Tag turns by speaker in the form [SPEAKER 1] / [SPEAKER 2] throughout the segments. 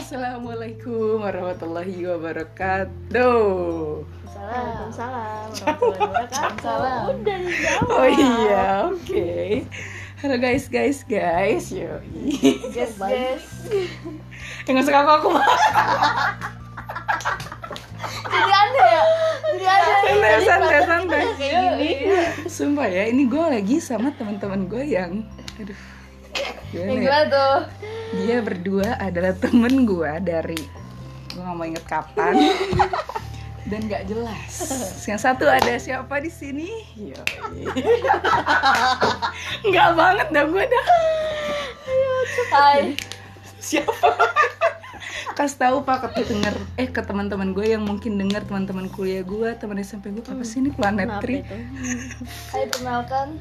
[SPEAKER 1] Assalamualaikum warahmatullahi wabarakatuh.
[SPEAKER 2] Waalaikumsalam. Waalaikumsalam. Udah dijawab.
[SPEAKER 1] Oh iya, oke. Halo guys, guys, guys. Eh, Yo.
[SPEAKER 2] Guys, guys.
[SPEAKER 1] Yang suka aku aku
[SPEAKER 2] Jadi aneh ya. Jadi aneh.
[SPEAKER 1] santai,
[SPEAKER 2] Jadi
[SPEAKER 1] santai,
[SPEAKER 2] perasaan kita
[SPEAKER 1] santai.
[SPEAKER 2] Iya, kayak gini.
[SPEAKER 1] Sumpah ya, ini gue lagi sama teman-teman gue yang, aduh,
[SPEAKER 2] Yang
[SPEAKER 1] gimana ya?
[SPEAKER 2] gimana tuh?
[SPEAKER 1] Dia berdua adalah temen gue dari, gue gak mau inget kapan. dan gak jelas. Yang satu ada siapa di sini? Yo. Enggak banget dah gue dah.
[SPEAKER 2] Hai.
[SPEAKER 1] siapa kasih tahu pak ke denger eh ke teman-teman gue yang mungkin denger teman-teman kuliah gue teman SMP gue apa sih ini planet tri
[SPEAKER 2] Hai perkenalkan.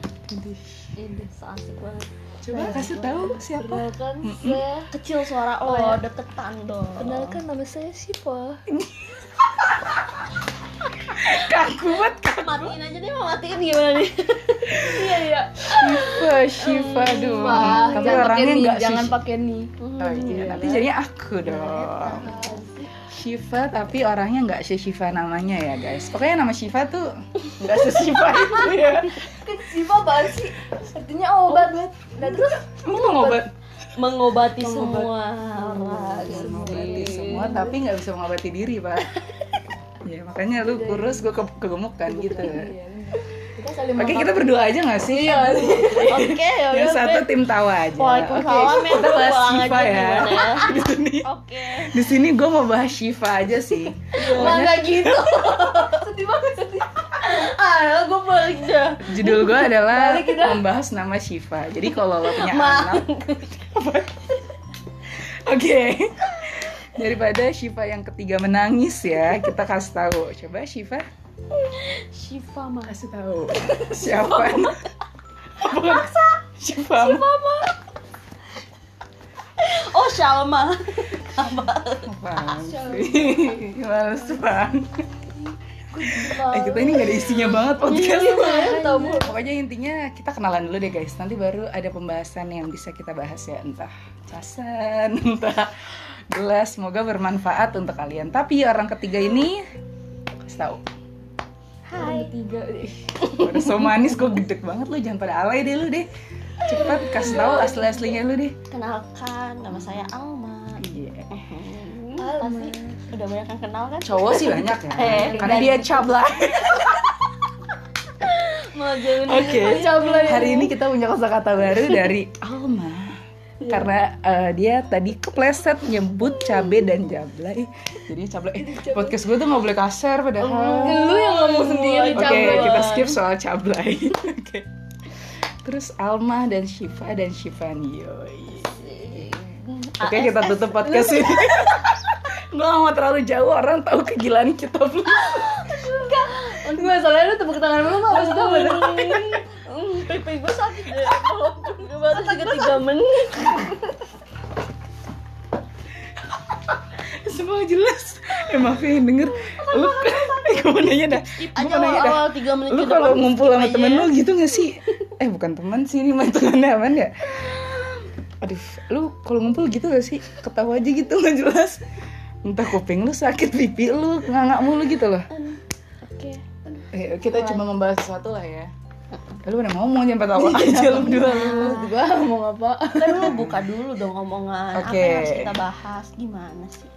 [SPEAKER 2] Ini so asik banget.
[SPEAKER 1] coba kasih tahu siapa
[SPEAKER 2] Perkenalkan saya
[SPEAKER 3] kecil suara lo
[SPEAKER 2] Oh,
[SPEAKER 3] deketan dong
[SPEAKER 2] Perkenalkan nama saya Sipa.
[SPEAKER 1] kaku banget kaku
[SPEAKER 3] matiin aja deh mau matiin gimana nih
[SPEAKER 2] Iya iya.
[SPEAKER 1] Shiva Shiva dong
[SPEAKER 2] Wah, jangan
[SPEAKER 1] tapi
[SPEAKER 2] pakai
[SPEAKER 1] orangnya
[SPEAKER 2] nih,
[SPEAKER 1] nggak sih
[SPEAKER 2] jangan pakai nih.
[SPEAKER 1] oh, iya. nanti jadinya aku dong Shiva tapi orangnya nggak se Shiva namanya ya guys pokoknya nama Shiva tuh nggak se Shiva itu ya
[SPEAKER 2] Kan Sipa apaan sih? Artinya obat. Dan terus
[SPEAKER 1] ini ngobat
[SPEAKER 3] mengobati semua
[SPEAKER 1] Mengobati.
[SPEAKER 3] orang
[SPEAKER 1] bisa mengobati semua tapi nggak bisa mengobati diri pak ya makanya lu kurus gue ke- kegemukan gitu
[SPEAKER 2] kita saling
[SPEAKER 1] oke kita berdua aja nggak sih
[SPEAKER 3] oke ya
[SPEAKER 1] yang satu tim tawa aja
[SPEAKER 3] Waalaikumsalam
[SPEAKER 1] Oke,
[SPEAKER 3] ya
[SPEAKER 1] kita bahas
[SPEAKER 3] pulang aja
[SPEAKER 1] Shiva ya
[SPEAKER 3] gimana ya
[SPEAKER 1] di sini
[SPEAKER 3] oke
[SPEAKER 1] di sini gue mau bahas Shiva aja sih Soalnya
[SPEAKER 2] gitu. sedih banget sedih.
[SPEAKER 3] ah gue balik dah
[SPEAKER 1] judul gue adalah
[SPEAKER 2] Balik kita.
[SPEAKER 1] membahas nama Shiva jadi kalau lo punya
[SPEAKER 3] Ma.
[SPEAKER 1] anak Apa? oke daripada Shiva yang ketiga menangis ya kita kasih tahu coba Shiva
[SPEAKER 3] Shiva mas
[SPEAKER 1] kasih tahu siapa apa siapa
[SPEAKER 3] oh Shalma
[SPEAKER 1] males banget eh kita ini gak ada isinya banget podcast pokoknya intinya kita kenalan dulu deh guys nanti baru ada pembahasan yang bisa kita bahas ya entah pasan entah gelas semoga bermanfaat untuk kalian tapi orang ketiga ini kasih tahu
[SPEAKER 2] Hai. Tiga.
[SPEAKER 1] Udah so manis gue gedek banget lu jangan pada alay deh lu deh cepat kasih tahu asli aslinya lu deh
[SPEAKER 3] kenalkan nama saya Alma
[SPEAKER 1] iya
[SPEAKER 3] Hmm, pasti udah banyak yang kenal kan
[SPEAKER 1] cowok sih banyak ya
[SPEAKER 3] Eh,
[SPEAKER 1] karena dia cabla
[SPEAKER 3] mau jauhin
[SPEAKER 1] Oke.
[SPEAKER 2] Cabla ya.
[SPEAKER 1] hari ini kita punya kosakata baru dari Alma karena eh, dia tadi kepleset nyebut cabe dan jablay jadi cablay eh, podcast gue tuh nggak boleh kasar padahal
[SPEAKER 3] Oh, lu yang ngomong sendiri
[SPEAKER 1] oke kita skip soal cablay oke terus Alma dan Shiva dan Shivani yoi Oke kita tutup podcast ini Gue gak mau terlalu jauh orang tahu kegilaan kita belum
[SPEAKER 3] Eh,
[SPEAKER 2] Gue soalnya lu tepuk tangan lu nggak maksud gue.
[SPEAKER 3] Hmm, Pipi gue sakit deh Walaupun gue baru juga 3 menit
[SPEAKER 1] Semua jelas Eh maafin denger Lu Eh gue mau nanya dah Gue
[SPEAKER 3] Aja
[SPEAKER 1] mau nanya dah
[SPEAKER 3] awal 3 menit
[SPEAKER 1] ya? Lu
[SPEAKER 3] ke
[SPEAKER 1] kalau
[SPEAKER 3] depan
[SPEAKER 1] ngumpul sama
[SPEAKER 3] aja
[SPEAKER 1] temen
[SPEAKER 3] ya.
[SPEAKER 1] lu gitu gak sih? Eh bukan teman sih ini mah temennya aman ya Aduh Lu kalau ngumpul gitu gak sih? Ketawa aja gitu gak jelas Entah kuping lu sakit pipi lu Ngangak mulu gitu loh
[SPEAKER 3] Oke
[SPEAKER 1] Eh, kita cuma membahas sesuatu lah ya. Lu udah ngomong jangan pada awal aja lu berdua lu.
[SPEAKER 2] Gue mau ngapa?
[SPEAKER 3] Kan lu buka dulu dong omongan Apa
[SPEAKER 1] Oke.
[SPEAKER 3] yang harus kita bahas Gimana sih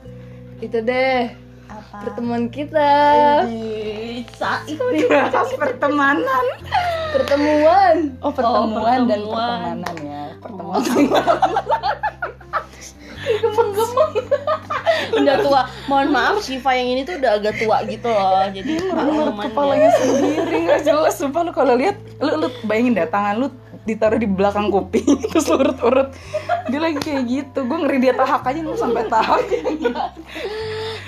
[SPEAKER 2] Itu deh
[SPEAKER 3] Apa
[SPEAKER 2] pertemuan kita.
[SPEAKER 1] Iya, Eh.
[SPEAKER 3] Ih, Saik
[SPEAKER 1] Dibahas pertemanan.
[SPEAKER 2] Pertemuan.
[SPEAKER 1] Oh, pertemuan dan
[SPEAKER 3] pertemuan.
[SPEAKER 1] pertemanan ya. Pertemuan.
[SPEAKER 3] Udah tua Mohon maaf Shiva yang ini tuh udah agak tua gitu loh Jadi kurang
[SPEAKER 1] Iya,
[SPEAKER 3] ya.
[SPEAKER 1] Kepalanya sendiri nggak jelas sumpah lu kalau lihat lu lu bayangin dah tangan lu ditaruh di belakang kuping terus lu urut-urut. Dia lagi kayak gitu. Gue ngeri dia tahak aja lu sampai tahak.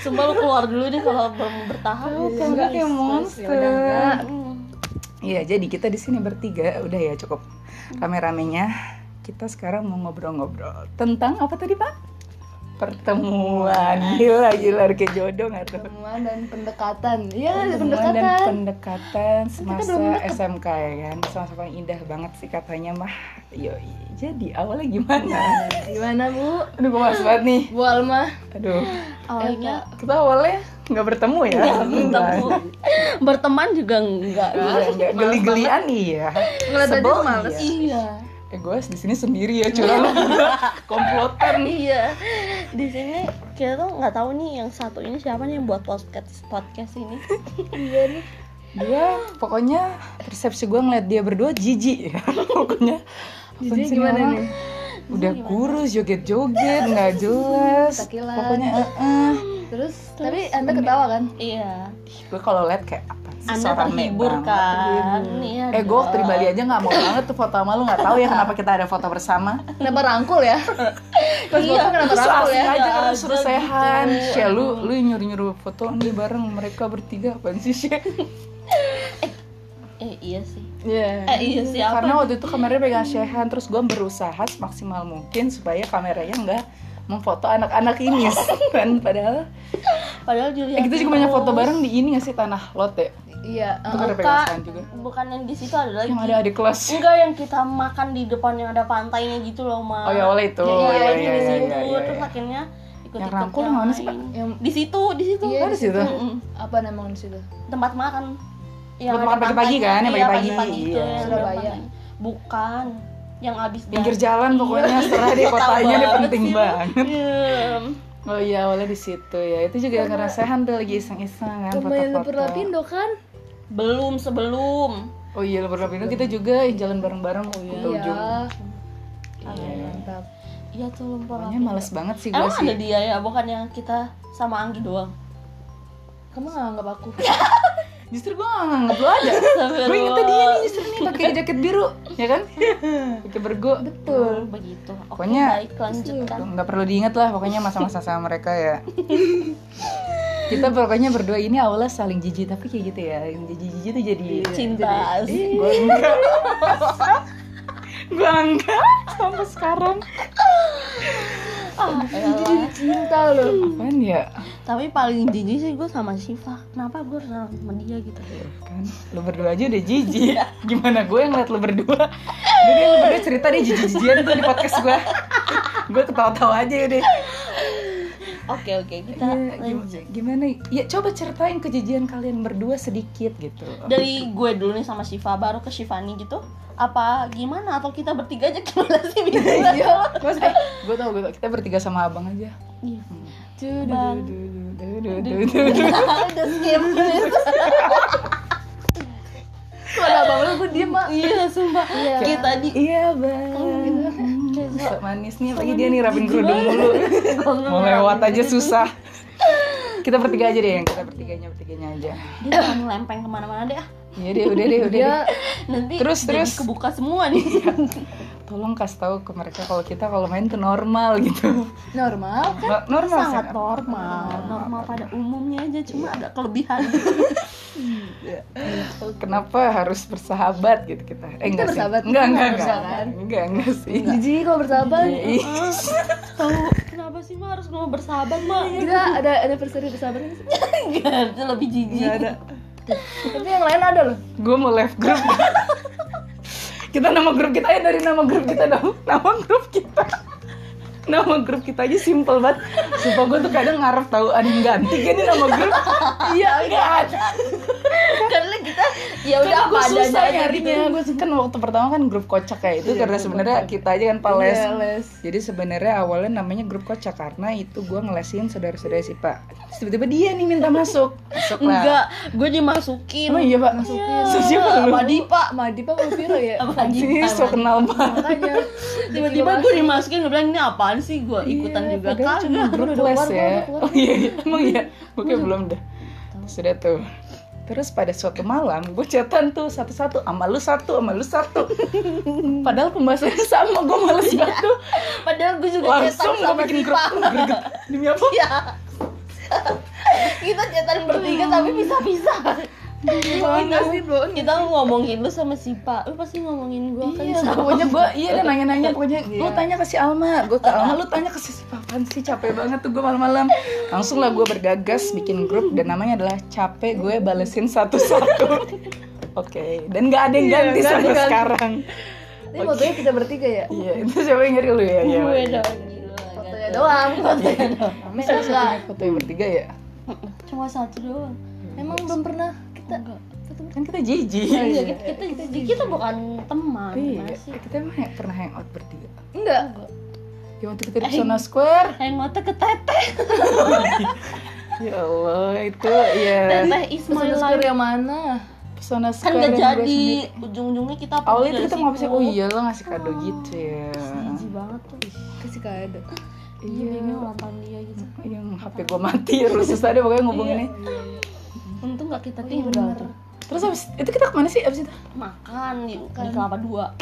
[SPEAKER 3] Sumpah lu keluar dulu deh kalau belum bertahap
[SPEAKER 1] Enggak kayak
[SPEAKER 3] ya
[SPEAKER 1] monster. Iya, jadi kita di sini bertiga udah ya cukup rame-ramenya. Kita sekarang mau ngobrol-ngobrol tentang apa tadi, Pak? pertemuan gila gila udah kayak jodoh nggak tuh
[SPEAKER 2] Pertemuan dan pendekatan. Iya, ada
[SPEAKER 1] Pertemuan dan
[SPEAKER 2] pendekatan.
[SPEAKER 1] pendekatan semasa
[SPEAKER 2] belum
[SPEAKER 1] SMK ya kan sama-sama indah banget sih katanya mah yoi jadi awalnya gimana
[SPEAKER 2] Gimana, Bu?
[SPEAKER 1] aduh gue males banget nih
[SPEAKER 2] Bu Alma.
[SPEAKER 1] aduh
[SPEAKER 2] Awalnya
[SPEAKER 1] kita awalnya nggak bertemu ya
[SPEAKER 3] bertemu. Berteman juga enggak.
[SPEAKER 1] Iya, nggak geli-gelian iya
[SPEAKER 3] Ngeliat aja
[SPEAKER 1] Sebel
[SPEAKER 3] males.
[SPEAKER 1] iya.
[SPEAKER 2] iya.
[SPEAKER 1] eh gue di sini sendiri ya curang lu berdua. komplotan
[SPEAKER 3] Iya. Di sini kita tuh nggak tahu nih yang satu ini siapa nih yang buat podcast podcast ini.
[SPEAKER 1] dia Iya, pokoknya persepsi gue ngeliat dia berdua jijik ya pokoknya Apaan
[SPEAKER 2] Jijik
[SPEAKER 1] sih ini
[SPEAKER 2] gimana
[SPEAKER 1] orang?
[SPEAKER 2] nih?
[SPEAKER 1] udah kurus joget-joget nggak jelas
[SPEAKER 2] Takilan.
[SPEAKER 1] pokoknya
[SPEAKER 2] Terus, tapi Anda ketawa kan?
[SPEAKER 3] Iya.
[SPEAKER 1] gue kalau liat kayak apa sih
[SPEAKER 3] Anda
[SPEAKER 1] seorang
[SPEAKER 3] terhibur kan? Iya.
[SPEAKER 1] eh gue waktu di Bali aja nggak mau banget tuh foto sama lu nggak tahu ya kenapa kita ada foto bersama
[SPEAKER 2] Kenapa rangkul ya? Pas
[SPEAKER 3] Iya,
[SPEAKER 2] foto kenapa
[SPEAKER 1] terus
[SPEAKER 2] rangkul
[SPEAKER 1] asik
[SPEAKER 2] ya?
[SPEAKER 1] aja kan
[SPEAKER 3] Ada
[SPEAKER 1] suruh
[SPEAKER 3] gitu.
[SPEAKER 1] sehan Shay, lu, lu nyuruh-nyuruh foto nih bareng mereka bertiga apaan sih Shay?
[SPEAKER 3] Eh iya sih.
[SPEAKER 1] Iya.
[SPEAKER 3] Eh, iya sih, apa?
[SPEAKER 1] Karena waktu itu kameranya pegang Shehan, terus gue berusaha semaksimal mungkin supaya kameranya nggak memfoto anak-anak ini kan padahal
[SPEAKER 3] Padahal
[SPEAKER 1] eh,
[SPEAKER 3] Julia.
[SPEAKER 1] kita juga banyak foto bareng di ini nggak sih tanah lot ya
[SPEAKER 2] Iya.
[SPEAKER 1] itu
[SPEAKER 2] eh,
[SPEAKER 1] kan ada
[SPEAKER 3] Buka.
[SPEAKER 1] pegang Shehan juga
[SPEAKER 3] Bukan yang di situ ada lagi.
[SPEAKER 1] yang ada adik kelas
[SPEAKER 3] Enggak yang kita makan di depan yang ada pantainya gitu loh, Ma.
[SPEAKER 1] oh ya oleh itu
[SPEAKER 3] Iya,
[SPEAKER 1] Iya,
[SPEAKER 3] iya,
[SPEAKER 1] iya,
[SPEAKER 3] di
[SPEAKER 1] iya,
[SPEAKER 3] situ.
[SPEAKER 1] iya, iya.
[SPEAKER 3] Terus akhirnya ikut
[SPEAKER 1] Yang
[SPEAKER 3] ikut
[SPEAKER 1] rangkul
[SPEAKER 3] yang
[SPEAKER 1] mana sih, Pak?
[SPEAKER 3] lain.
[SPEAKER 2] Yang
[SPEAKER 3] Di situ, di situ.
[SPEAKER 2] Iya,
[SPEAKER 1] Oh, di situ
[SPEAKER 3] Mm-mm.
[SPEAKER 2] apa namanya di situ?
[SPEAKER 3] Tempat makan. Iya,
[SPEAKER 1] Buat
[SPEAKER 3] ada
[SPEAKER 1] makan pagi-pagi
[SPEAKER 3] pantainya.
[SPEAKER 1] kan, yang
[SPEAKER 3] Iya,
[SPEAKER 1] pagi-pagi.
[SPEAKER 3] pagi-pagi itu,
[SPEAKER 1] Iya.
[SPEAKER 3] yang ada
[SPEAKER 2] Surabaya.
[SPEAKER 3] pantainya. Bukan yang abis
[SPEAKER 1] pinggir jalan pokoknya setelah
[SPEAKER 3] Iya,
[SPEAKER 1] di kotanya dia penting banget oh iya awalnya di situ ya itu juga karena Shehan tuh lagi iseng-iseng kan foto-foto
[SPEAKER 2] kan?
[SPEAKER 3] Belum sebelum.
[SPEAKER 1] oh iya lu pernah pindah kita juga yang jalan bareng-bareng oh iya
[SPEAKER 2] Iya.
[SPEAKER 1] Iya.
[SPEAKER 2] Mantap.
[SPEAKER 3] Iya tuh lumpur
[SPEAKER 1] Pokoknya
[SPEAKER 3] api.
[SPEAKER 1] males banget sih gue
[SPEAKER 3] Emang
[SPEAKER 1] sih
[SPEAKER 3] ada dia ya, bukan yang kita sama Anggi doang.
[SPEAKER 2] Kamu nggak nganggap aku?
[SPEAKER 1] Justru gue gak nganggep lo aja Gue ingetnya dia ya nih justru nih pakai jaket biru Ya kan? Pakai bergo
[SPEAKER 3] Betul. Oh, Begitu. Oke,
[SPEAKER 1] Pokoknya-
[SPEAKER 3] baik lanjutkan.
[SPEAKER 1] Gak perlu diinget lah pokoknya masa-masa sama mereka ya Kita pokoknya berdua ini awalnya saling jijik Tapi kayak gitu ya Yang jijik-jijik tuh Iya, jadi Eh,
[SPEAKER 3] Cinta.
[SPEAKER 1] Gue enggak Gue enggak Sampai sekarang
[SPEAKER 3] Elah.
[SPEAKER 2] Cinta loh.
[SPEAKER 1] Ah, Apaan ya?
[SPEAKER 3] Tapi paling jijik sih gue sama Siva. Kenapa gue harus nolak sama dia gitu?
[SPEAKER 1] kan lo berdua aja udah jijik gimana gue yang ngeliat lo berdua jadi lo berdua cerita deh jijik-jijian tuh di podcast gue gue ketawa-tawa aja deh
[SPEAKER 3] Oke oke kita
[SPEAKER 1] gimana ya coba ceritain kejijian kalian berdua sedikit gitu
[SPEAKER 3] dari gue dulu nih sama Siva baru ke Shivani gitu. Apa gimana atau kita bertiga aja gimana sih bingung
[SPEAKER 1] iya Mas, eh, gue tau gue tau kita bertiga sama abang aja
[SPEAKER 3] Iya.
[SPEAKER 1] Duh, duh,
[SPEAKER 3] Bang.
[SPEAKER 1] duh, duh, duh, duh, duh, duh.
[SPEAKER 3] Udah skip please.
[SPEAKER 2] Kok ada abang lu gue diem, Mak.
[SPEAKER 3] Iya sumpah.
[SPEAKER 2] Iya.
[SPEAKER 3] Kayak tadi
[SPEAKER 1] iya bang Hmm, sok manis nih apalagi dia nih rapin kerudung mulu mau lewat aja susah kita bertiga aja deh yang kita bertiganya bertiganya aja
[SPEAKER 3] dia jangan ngelempeng kemana-mana deh. ah.
[SPEAKER 1] Iya deh, udah deh, udah deh.
[SPEAKER 3] Nanti
[SPEAKER 1] Terus,
[SPEAKER 3] jadi
[SPEAKER 1] terus.
[SPEAKER 3] kebuka semua nih.
[SPEAKER 1] Tolong kasih tahu ke mereka kalau kita kalau main tuh normal gitu.
[SPEAKER 2] Normal. kan?
[SPEAKER 1] No- normal
[SPEAKER 3] Sangat
[SPEAKER 1] Sen.
[SPEAKER 3] normal, normal pada umumnya aja cuma ada kelebihan.
[SPEAKER 1] Kenapa harus bersahabat gitu kita?
[SPEAKER 2] Kita
[SPEAKER 1] Eh, sih.
[SPEAKER 2] bersahabat,
[SPEAKER 1] Enggak,
[SPEAKER 2] kita harus
[SPEAKER 1] enggak, enggak.
[SPEAKER 2] bersahabat.
[SPEAKER 1] Enggak, enggak sih.
[SPEAKER 2] Jijik kalau bersahabat.
[SPEAKER 1] Ih,
[SPEAKER 3] Tahu kenapa sih mah harus mau bersahabat mah?
[SPEAKER 2] Kita ada ada perseri bersahabat. nggak sih?
[SPEAKER 3] Itu lebih jijik.
[SPEAKER 1] Enggak Iya, ada. Nah.
[SPEAKER 2] Tapi yang lain ada loh.
[SPEAKER 1] Gue mau left group. kita nama grup kita aja dari nama grup kita dong. Nama grup kita. Nama grup kita aja simple banget. Sumpah gue tuh kadang ngarep tahu ada yang ganti kan ini nama grup. Iya, enggak ada.
[SPEAKER 3] karena kita ya udah
[SPEAKER 1] Kan
[SPEAKER 3] apa
[SPEAKER 1] gue
[SPEAKER 3] adanya
[SPEAKER 1] susah
[SPEAKER 3] aja
[SPEAKER 2] gitu.
[SPEAKER 1] nyarinya gue kan waktu pertama kan grup kocak kayak itu karena sebenarnya kita aja kan pales
[SPEAKER 2] Iya, les.
[SPEAKER 1] jadi sebenarnya awalnya namanya grup kocak karena itu gue ngelesin saudara-saudara si pak Terus tiba-tiba dia nih minta masuk masuk lah
[SPEAKER 3] enggak gue dimasukin
[SPEAKER 1] emang iya pak masukin siapa lu
[SPEAKER 2] Madi Pak, Madi Pak Wafiro ya.
[SPEAKER 1] Anjing, ini so kenal banget
[SPEAKER 2] Makanya
[SPEAKER 3] tiba-tiba gue dimasukin gue bilang ini apaan sih gue ikutan
[SPEAKER 1] Iya,
[SPEAKER 3] juga kan.
[SPEAKER 1] padahal cuma
[SPEAKER 3] kagak
[SPEAKER 1] grup les ya oh iya iya. emang iya gue kayak belum dah sudah tuh terus pada suatu malam gue chatan tuh satu-satu sama lu satu sama lu satu padahal pembahasannya sama gue males banget tuh
[SPEAKER 3] padahal gue juga
[SPEAKER 1] langsung
[SPEAKER 3] cetan
[SPEAKER 1] gue
[SPEAKER 3] sama
[SPEAKER 1] bikin
[SPEAKER 3] kita
[SPEAKER 1] grup greget. demi apa
[SPEAKER 3] ya kita cetan bertiga tapi bisa-bisa Iya,
[SPEAKER 2] Kita sih bohong.
[SPEAKER 3] kita ngomongin lu sama si Pak lu pasti ngomongin gue kan
[SPEAKER 2] ya.
[SPEAKER 4] Iya.
[SPEAKER 1] Iya, pokoknya gue iya dia nanya-nanya pokoknya lu tanya ke si Alma, gue ke Alma, lu tanya ke si siapa apaan sih capek banget tuh gue malam-malam langsung lah gue bergagas bikin grup dan namanya adalah capek gue balesin satu-satu oke dan nggak ada yang
[SPEAKER 2] Iya, nggak ada
[SPEAKER 1] ganti sampai
[SPEAKER 2] yang ganti.
[SPEAKER 1] sekarang
[SPEAKER 2] Ini fotonya kita bertiga ya?
[SPEAKER 1] iya itu siapa yang nyari lu ya iya
[SPEAKER 3] Gue
[SPEAKER 1] iya.
[SPEAKER 3] dong gila.
[SPEAKER 2] Fotonya doang. Fotonya doang.
[SPEAKER 1] Masa
[SPEAKER 2] Masa enggak?
[SPEAKER 1] satunya foto yang bertiga ya
[SPEAKER 3] Cuma satu doang.
[SPEAKER 2] Emang belum pernah kita foto
[SPEAKER 1] kan kita jijik
[SPEAKER 3] Iya, kita, kita, kita, kita bukan teman,
[SPEAKER 1] Iya,
[SPEAKER 3] gimana sih?
[SPEAKER 1] kita emang he- pernah hangout bertiga
[SPEAKER 2] ber- Enggak.
[SPEAKER 1] Ya waktu kita di Pesona Square
[SPEAKER 3] Hangotnya ke teteh,
[SPEAKER 1] Ya Allah, itu ya
[SPEAKER 3] teteh is my
[SPEAKER 2] Terus
[SPEAKER 3] life.
[SPEAKER 2] yang mana?
[SPEAKER 1] Pesona
[SPEAKER 3] Kan
[SPEAKER 1] Square
[SPEAKER 3] gak
[SPEAKER 1] yang gue
[SPEAKER 3] jadi
[SPEAKER 1] sendiri.
[SPEAKER 3] ujung-ujungnya kita apa
[SPEAKER 1] Awalnya itu kita ngobrol sih, oh iya lo ngasih kado gitu ya
[SPEAKER 3] Jijik banget tuh.
[SPEAKER 2] Kasih kado.
[SPEAKER 3] Iya,
[SPEAKER 1] Iya,
[SPEAKER 3] baby ulang tahun dia gitu.
[SPEAKER 1] yang HP gue mati, rusus tadi pokoknya ngubunginnya
[SPEAKER 3] Untung gak kita tinggal tuh.
[SPEAKER 1] Terus abis, itu kita kemana sih abis itu?
[SPEAKER 3] Makan di, di kelapa dua.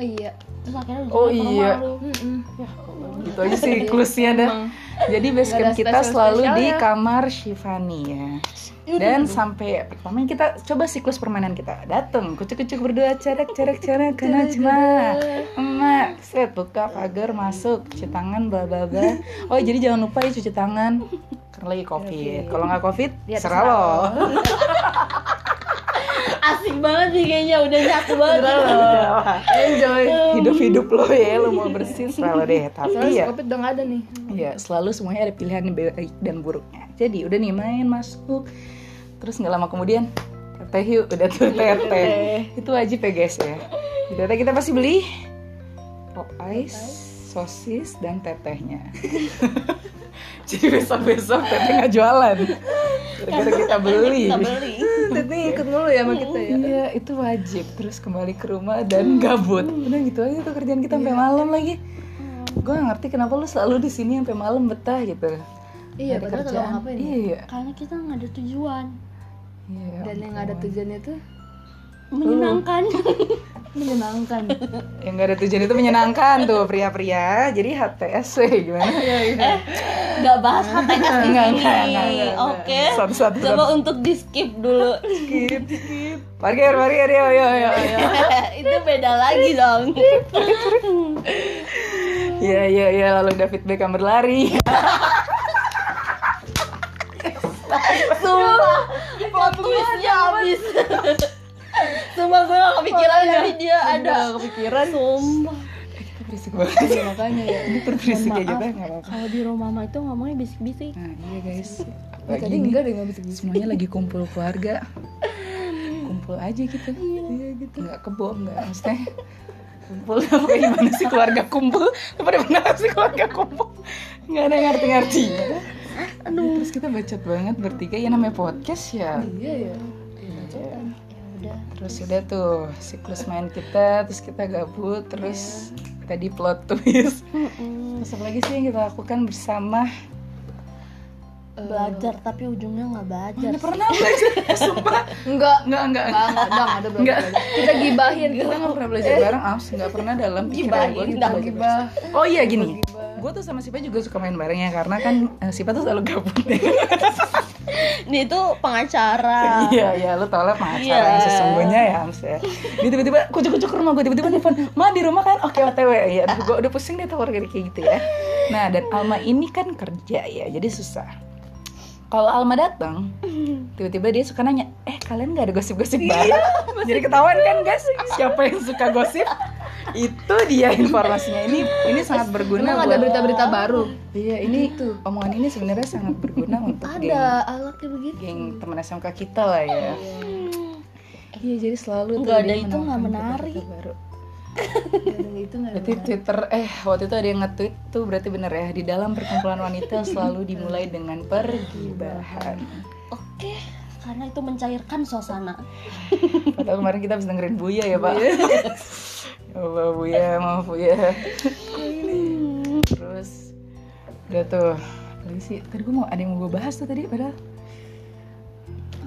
[SPEAKER 2] Oh iya.
[SPEAKER 3] Terus akhirnya
[SPEAKER 1] Oh
[SPEAKER 3] ujungnya ke
[SPEAKER 1] iya.
[SPEAKER 3] rumah lu.
[SPEAKER 2] Mm-mm.
[SPEAKER 1] Gitu aja sih siklusnya dah Jadi
[SPEAKER 2] Iya, Nggak ada
[SPEAKER 1] basecamp kita
[SPEAKER 2] spesial-spesial
[SPEAKER 1] selalu di
[SPEAKER 2] ya.
[SPEAKER 1] kamar Shivani ya Dan sampai pertama kita coba siklus permainan kita Dateng, kucuk-kucuk berdua, cerak-cerak-cerak kena cuma Emak, set buka pagar masuk, cuci tangan bla bla bla. Oh jadi jangan lupa ya cuci tangan karena lagi covid. Kalau nggak covid,
[SPEAKER 2] Ya,
[SPEAKER 1] serah lo.
[SPEAKER 3] Hmm, Asik banget sih kayaknya udah nyatu banget. gitu.
[SPEAKER 1] Enjoy hidup hidup lo ya, lo mau bersin serah lo deh. Tapi
[SPEAKER 2] Soalnya
[SPEAKER 1] ya,
[SPEAKER 2] covid udah nggak ada nih.
[SPEAKER 1] ya selalu semuanya ada pilihan baik dan buruknya. Jadi udah nih main masuk, terus nggak lama kemudian teteh yuk udah tuh Iya, teteh. Itu wajib ya guys ya. Di teteh kita pasti beli pop ice, sosis dan tetehnya. Jadi besok-besok teteh nggak jualan. Gara-gara kita beli.
[SPEAKER 3] Kan Kita beli.
[SPEAKER 2] Tadi ikut mulu ya sama kita ya.
[SPEAKER 1] Iya, itu wajib. Terus kembali ke rumah dan gabut. Udah gitu aja tuh kerjaan kita sampai malam lagi. Gue ngerti kenapa lu selalu di sini sampai malam betah gitu.
[SPEAKER 2] Iya,
[SPEAKER 1] Ada
[SPEAKER 2] padahal kalau
[SPEAKER 1] kerjaan.
[SPEAKER 2] ngapain? ya?
[SPEAKER 1] Iya.
[SPEAKER 3] Karena kita nggak ada tujuan
[SPEAKER 1] Iya.
[SPEAKER 2] Dan yang nggak ada tujuannya tuh
[SPEAKER 3] menyenangkan.
[SPEAKER 2] menyenangkan.
[SPEAKER 1] Yang gak ada tujuan itu menyenangkan tuh pria-pria. Jadi HTSW gimana? Iya,
[SPEAKER 3] Iya. Gak Eh, bahas HTS di
[SPEAKER 1] Enggak,
[SPEAKER 3] sini.
[SPEAKER 1] enggak, enggak, enggak.
[SPEAKER 3] Oke.
[SPEAKER 1] Satu satu
[SPEAKER 3] Coba untuk di skip dulu.
[SPEAKER 1] skip skip. Parkir parkir yo yo yo. yo.
[SPEAKER 3] Itu beda lagi dong.
[SPEAKER 1] Ya ya ya lalu David Beckham berlari.
[SPEAKER 3] Sumpah, plot twistnya habis. Sumpah gue gak kepikiran dari dia ada.
[SPEAKER 1] kepikiran.
[SPEAKER 3] Sumpah.
[SPEAKER 1] Itu berisik banget.
[SPEAKER 2] Iya, makanya ya.
[SPEAKER 1] Ini berisik kayak
[SPEAKER 3] Maaf.
[SPEAKER 1] kita nggak apa-apa.
[SPEAKER 3] Kalau di rumah mama itu ngomongnya bisik-bisik.
[SPEAKER 1] Nah iya guys.
[SPEAKER 2] Nah,
[SPEAKER 1] Apalagi
[SPEAKER 2] tadi
[SPEAKER 1] nih,
[SPEAKER 2] enggak deh nggak bisa gitu.
[SPEAKER 1] Semuanya lagi kumpul keluarga. Kumpul aja gitu. Iya gitu. Nggak kebom nggak maksudnya. Kumpul apa gimana sih keluarga kumpul? Lu Pada benar sih keluarga kumpul. Nggak ada yang ngerti-ngertinya. Aduh. Iya. Terus kita bacot banget bertiga ya namanya podcast ya.
[SPEAKER 2] Iya ya.
[SPEAKER 1] Iya. Terus ya udah tuh siklus main kita, terus kita gabut, terus tadi plot twist. Terus apa lagi sih yang kita lakukan bersama?
[SPEAKER 3] Belajar tapi ujungnya nggak belajar.
[SPEAKER 1] Mana pernah belajar? Sumpah,
[SPEAKER 2] Enggak.
[SPEAKER 1] nggak nggak
[SPEAKER 2] Enggak, enggak, Bang, ada belum.
[SPEAKER 1] Enggak.
[SPEAKER 2] Kita gibahin
[SPEAKER 1] Kita nggak pernah belajar bareng, Aus. Nggak pernah dalam pikiran gue kita
[SPEAKER 3] dah,
[SPEAKER 1] belajar bareng. Oh iya gini, gue tuh sama Sipa juga suka main bareng ya, karena kan eh, Sipa tuh selalu gabut ya.
[SPEAKER 3] Dia itu pengacara.
[SPEAKER 1] Iya, iya, lo tau lah pengacara yang
[SPEAKER 3] Iya.
[SPEAKER 1] sesungguhnya ya, Ams ya. Dia tiba-tiba kucuk-kucuk ke rumah gue, tiba-tiba nelfon, Ma di rumah kan? Oke, otw. Iya, aduh, gue udah pusing deh tuh warga kayak gitu ya. Nah, dan Alma ini kan kerja ya, jadi susah. Kalau Alma datang, tiba-tiba dia suka nanya, eh kalian gak ada gosip-gosip
[SPEAKER 2] Iya,
[SPEAKER 1] bareng? Jadi ketahuan kan guys, siapa yang suka gosip? Itu dia informasinya. Ini ini sangat berguna
[SPEAKER 2] Emang ada
[SPEAKER 1] buat
[SPEAKER 2] berita-berita baru?
[SPEAKER 1] Iya, ini omongan ini sebenarnya sangat berguna untuk geng-
[SPEAKER 2] Ada alaknya begitu.
[SPEAKER 1] geng teman SMK kita lah ya. Iya jadi selalu tuh
[SPEAKER 3] Nggak ada
[SPEAKER 1] dia
[SPEAKER 3] itu nggak
[SPEAKER 1] menawarkan
[SPEAKER 3] menarik.
[SPEAKER 1] berita-berita baru.
[SPEAKER 2] Ada itu enggak ada.
[SPEAKER 1] Berarti Twitter eh waktu itu ada yang nge-tweet tuh berarti bener ya di dalam perkumpulan wanita selalu dimulai dengan pergibahan.
[SPEAKER 3] Oke, karena itu mencairkan suasana.
[SPEAKER 1] Padahal kemarin kita habis dengerin Buya ya pak. ya Allah Buya maaf Buya. Terus udah tuh lagi sih tadi gue mau ada yang mau gue bahas tuh tadi padahal